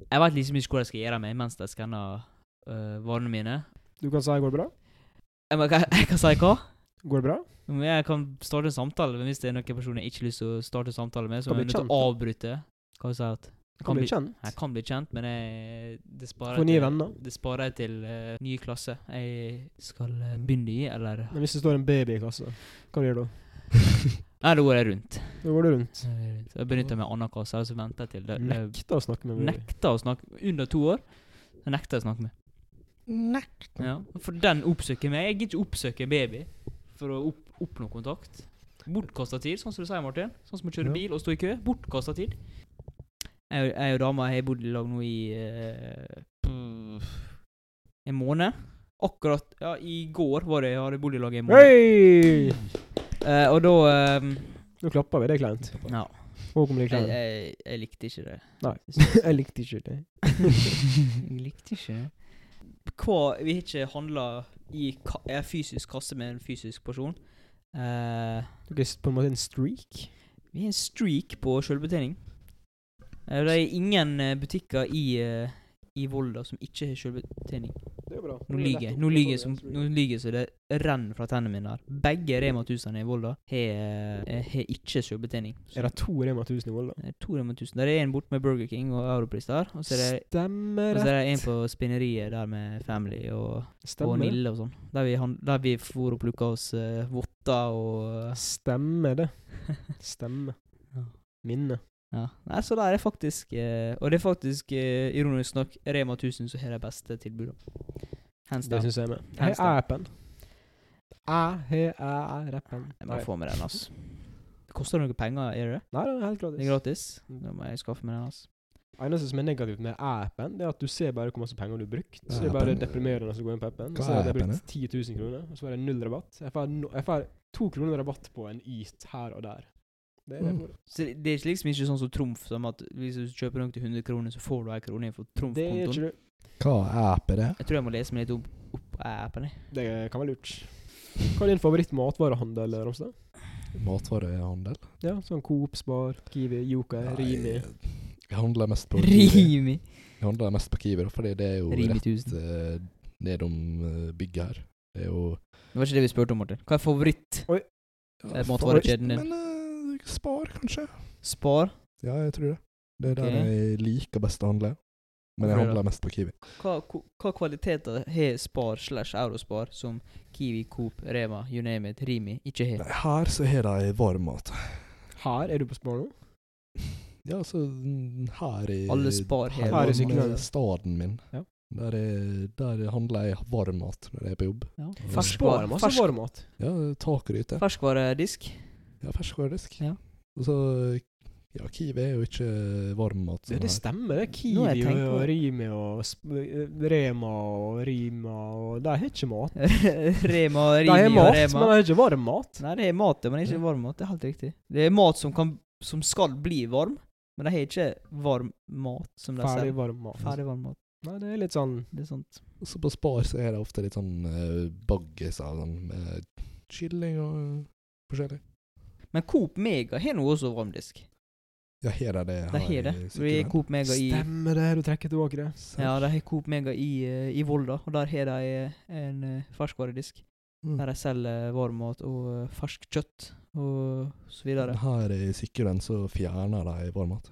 Jeg veit liksom ikke hva jeg skal gjøre med mens jeg skanner eh, varene mine. Du kan si 'går det bra'? Jeg, må- jeg, jeg kan si hva? Går det bra? Men Jeg kan starte en samtale, men hvis det er noen personer jeg ikke har lyst til å starte en samtale med, så Kan er bli jeg nødt til kjent, å da. avbryte. Hva sa jeg at Kan bli kjent. Jeg kan bli kjent, men jeg, det sparer Få nye til- venner. Det sparer jeg til eh, nye klasse jeg skal eh, begynne i, eller Men hvis det står en baby i kassa, hva gjør du da? Nei, da går jeg rundt. Da går du rundt. Da går jeg rundt. Jeg benytter meg av annen kasse, eller så venter jeg til det. det- Nekter å snakke med baby. Nekter å snakke Under to år så nekter jeg å snakke med. Nekter? Ja, For den oppsøker meg. Jeg gidder ikke oppsøke en baby for å opp, oppnå kontakt. Bortkasta tid, sånn som du sier, Martin. Sånn som å kjøre Ja. bil og stå i kø. Bortkasta tid. Jeg, jeg og dama har bodd i lag nå i eh, pff, en måned. Akkurat Ja, i går var det jeg hadde bodd i lag i en måned. Hei! Eh, og da eh, Nå klapper vi. Det er kleint. Ja. Håkon blir Jeg, klein. jeg, jeg likte ikke det. Nei. Jeg synes- Jeg likte ikke det. jeg likte ikke det. Hva Vi har ikke handla i ka- en fysisk kasse med en fysisk person. Eh, Du er på en måte en streak. vi har en streak på sjølbetjening. Eh, det er ingen eh, butikker i, eh, i Volda som ikke har sjølbetjening. Det er jo bra. Nå lyver jeg. Nå lyver jeg som, nå lyger jeg så det renner fra tennene mine. her. Begge Rema 1000 i Volda har eh, har ikke sjøbetjening. Så Er det to Rema 1000 i Volda? det er to Rema 1000. Der er en borte med Burger King og Europris der. Og så er det, Stemmer og så det. er det en på spinneriet der med Family og, og Stemmer det. Nille og sånn. Der vi, han- der vi for og plukka oss eh, votter og eh, Stemmer det. Stemmer. Ja. Minne. Ja. Nei, så der er faktisk eh, Og det er faktisk, eh, ironisk nok, Rema 1000 som har de beste tilbudene. Hands Det down. syns jeg er med. Jeg Hands har down. appen. Jeg har appen. Jeg må Nei, få med den, altså. Det koster noe penger, gjør det? Nei, det er helt Det er gratis. gratis? Da må jeg skaffe meg den, altså. eneste som er negativt med appen, det er at du ser bare hvor masse penger du har brukt. Så det er bare Appen. deprimerende å gå inn på appen. Hva Og så har er jeg brukt appen, 10 000 kroner, og så er det null rabatt. Jeg får, no, jeg får to kroner rabatt på en is her og der. Det er det. Mm. for- Så det det er ikke liksom ikke sånn som Trumf, som at hvis du kjøper noe til 100 kroner, så får du ei krone for Det er Trumf-kontoen. ikke du. Hva apper det? Jeg tror jeg må lese meg litt opp, opp på appen. jeg. Det kan være lurt. Hva er din favoritt-matvarehandel, Romsdal? Matvarehandel? Ja, sånn Coop, Spar, Kiwi, Joker, Rimi. Nei, Jeg handler mest på Kiwi. Rimi! Jeg handler mest på Kiwi, da, fordi det er jo Rimi rett 1000. eh, nedom eh, bygget her. Det er jo Det var ikke det vi spurte om, Martin. Hva er favoritt? ja, Eh, matvarekjeden din. Men eh, Spar, kanskje? Spar? Ja, jeg tror det. Det er der Ok. jeg liker best å handle. Hvorfor Men jeg det? handler mest på Kiwi. Hva, ko- hva kvaliteter har Spar slash Eurospar som Kiwi, Coop, Rema, you name it, Rimi ikke har? Nei, Her så har de varm mat. Her er du på Spar nå? Ja, altså mm, her i Alle Spar har Her er i varm mat. sykler. sykkeløyet. Staden min. Ja. Der, er, der handler jeg varm mat når jeg er på jobb. Ja. Spar Ferskvare. masse Fersk, varmmat. Ja, takeryte. ferskvaredisk. Ja, ferskvaredisk. Ja. Og så Ja, Kiwi er jo ikke varm mat. Det, det sånn her. stemmer, det. er Nå har jeg Kiwi tenkt og på det. Rimi og Sp- eh, Rema og Rima og De har ikke mat. Rema, De har Rimi og mat, men Rema. de har ikke varm mat. Nei, det er mat, men ikke varm mat. Det er helt riktig. Det er mat som, kan, som skal bli varm, men de har ikke varm mat som de Ferdig selger. varm mat. altså, Ferdig varm mat. Nei, det er litt sånn Det er sant. Og så på Spar så er det ofte litt sånn uh, baggis av sånn med kylling og forskjellig. Men Coop Mega har nå også varmdisk. Ja, her er det. De har det. i Det er sykkelveien. Coop Mega i Stemmer det, du trekker tilbake det. ja, de har Coop Mega i, eh, i Volda, og der har de eh, en eh, ferskvaredisk. Mm. Der de selger varm mat og eh, ferskt kjøtt og så videre. Her i Sykkylven så fjerner de varm mat.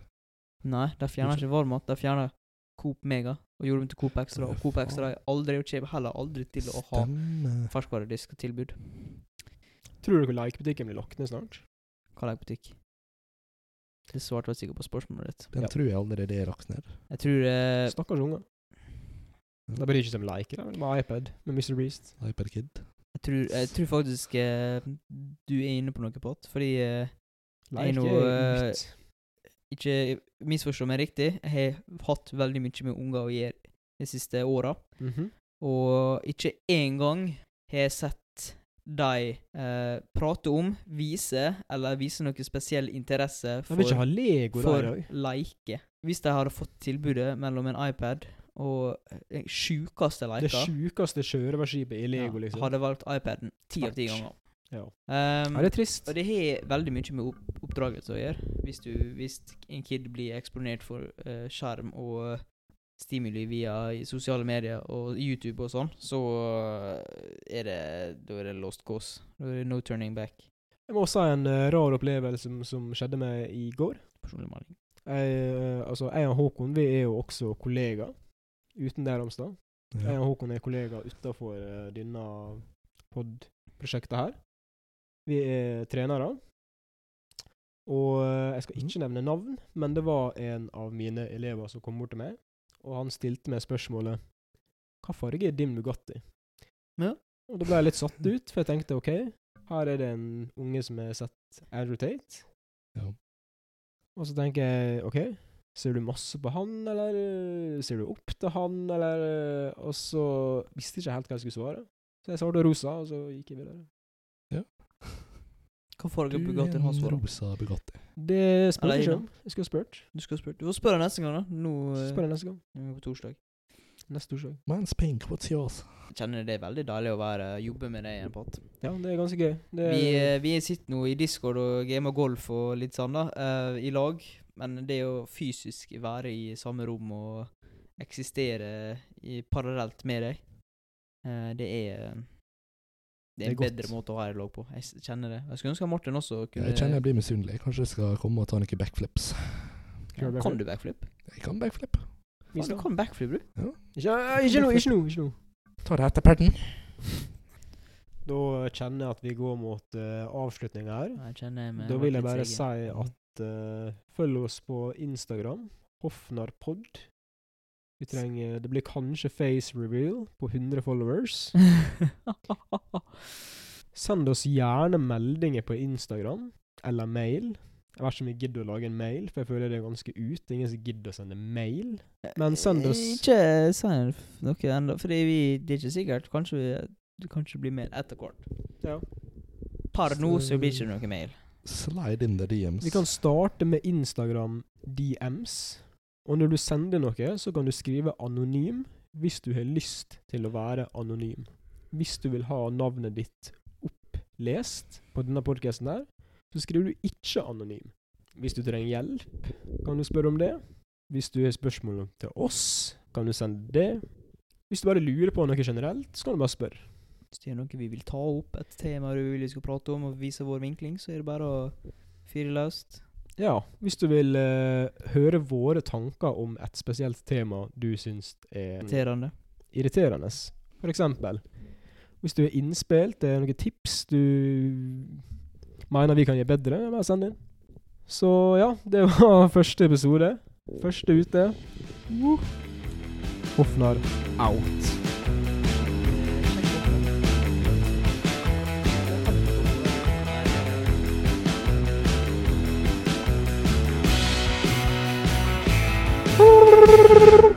Nei, de fjerner ikke varm mat. De fjerner Coop Mega og gjorde dem til Coop Extra. Og Coop Extra er aldri og kommer heller aldri til å ha Stemmer. ferskvaredisk tilbud. Tror dere likebutikken blir lagt ned snart? Hva er butikk? Det svarte jeg sikkert på spørsmålet ditt. Den Ja. tror jeg allerede er lagt ned. Jeg tror eh, Stakkars unger. De bryr ikke seg om liker, de vil ha iPad med Mr. Beast. iPad Kid. Jeg tror, jeg tror faktisk eh, du er inne på noe, Pott. Fordi eh, Nei, Like nå, er eh, ut. Ikke misforstå meg riktig, jeg har hatt veldig mye med unger å gjøre de siste åra. Mhm. Og ikke én gang har jeg sett de eh, prate om, vise, eller vise noe spesiell interesse De vil ikke for, ha Lego der for òg. leike. Hvis de hadde fått tilbudet mellom en iPad og eh, sjukeste Det leika sjukeste sjørøverskipet i Lego, liksom. Hadde valgt iPaden ti av ti Fuck. ganger. Ja. Um, Ja, det er trist. og det har veldig mye med opp oppdragelse å gjøre. Hvis, du, hvis en kid blir eksponert for eh, skjerm og stimuli via i sosiale medier og YouTube og sånn, så eh, er det Da er det lost cause. Da er det no turning back. Jeg må også ha en eh, rar opplevelse som, som skjedde meg i går. Personlig melding. Jeg, eh, altså, jeg og Håkon vi er jo også kollegaer uten det Ramstad. Jeg og Håkon er kollegaer utenfor eh, denne pod-prosjektet her. Vi er trenere. Og eh, jeg skal ikke nevne navn, men det var en av mine elever som kom bort til meg, og han stilte meg spørsmålet Hva farge er din Bugatti? Ja. Og da ble jeg litt satt ut, for jeg tenkte OK, her er det en unge som har sett Andrew Tate. Ja. Og så tenker jeg OK, ser du masse på han, eller øh, ser du opp til han, eller øh, Og så visste jeg ikke helt hva jeg skulle svare. Så jeg svarte rosa, og så gikk jeg videre. Hva farge Du på er gaten har en eh, svaret? rosa Bugatti. Det spurte Eller jeg ikke om. innom. Jeg skulle ha spurt. Du skal spørre. Du får spørre neste gang, da. Nå Så eh, spør jeg neste gang. nå er vi på torsdag. Neste torsdag. Man's pink, what's yours? Jeg kjenner det er veldig deilig å være, jobbe med deg igjen, Pat. Ja, det er ganske gøy. Det er, Vi, eh, vi sitter nå i Discord og gamer golf og litt sånn, da, eh, i lag. Men det å fysisk være i samme rom og eksistere i, parallelt med deg, Eh, det er Det er er en godt. bedre måte å ha et lag på. Jeg s- kjenner det. Jeg skulle ønske Martin også kunne Jeg kjenner jeg blir misunnelig. Kanskje jeg skal komme og ta noen backflips. Skal du eh, Kan du backflip? Jeg kan backflip. Vi Faen, skal- du kan backflip, du. Ikke, ikke nå, ikke nå! ikke nå. Ta det etter perten. Da kjenner jeg at vi går mot eh, avslutning her. Jeg kjenner meg Da vil jeg bare litt si seigen. at eh, følg oss på Instagram, Hofnarpod. Vi trenger Det blir kanskje face reveal på 100 followers. Send oss gjerne meldinger på Instagram eller mail. Jeg vet ikke om vi gidder å lage en mail, for jeg føler det er ganske ut. Ingen som gidder å sende mail. Men send oss Ikke send f- noe ennå, for det er ikke sikkert. Kanskje vi- du kanskje blir med etter hvert. Ja. Per nå så blir det Så- ikke noe mail. Slide in the DMs. Vi kan starte med Instagram DMs. Og når du sender noe, så kan du skrive anonym hvis du har lyst til å være anonym. Hvis du vil ha navnet ditt opplest på denne podkasten her, så skriver du ikke anonym. Hvis du trenger hjelp, kan du spørre om det. Hvis du har spørsmål til oss, kan du sende det. Hvis du bare lurer på noe generelt, så kan du bare spørre. Hvis det er noe vi vil ta opp, et tema du vil vi skal prate om, og vise vår vinkling, så er det bare å fyre løst. Ja, hvis du vil eh, høre våre tanker om et spesielt tema du syns er Irriterende. irriterende. For eksempel, hvis du er innspilt, det er noen tips du mener vi kan gi bedre, ja, bare send inn. Så ja, det var første episode. Første ute. Woo! Hofnar out. kan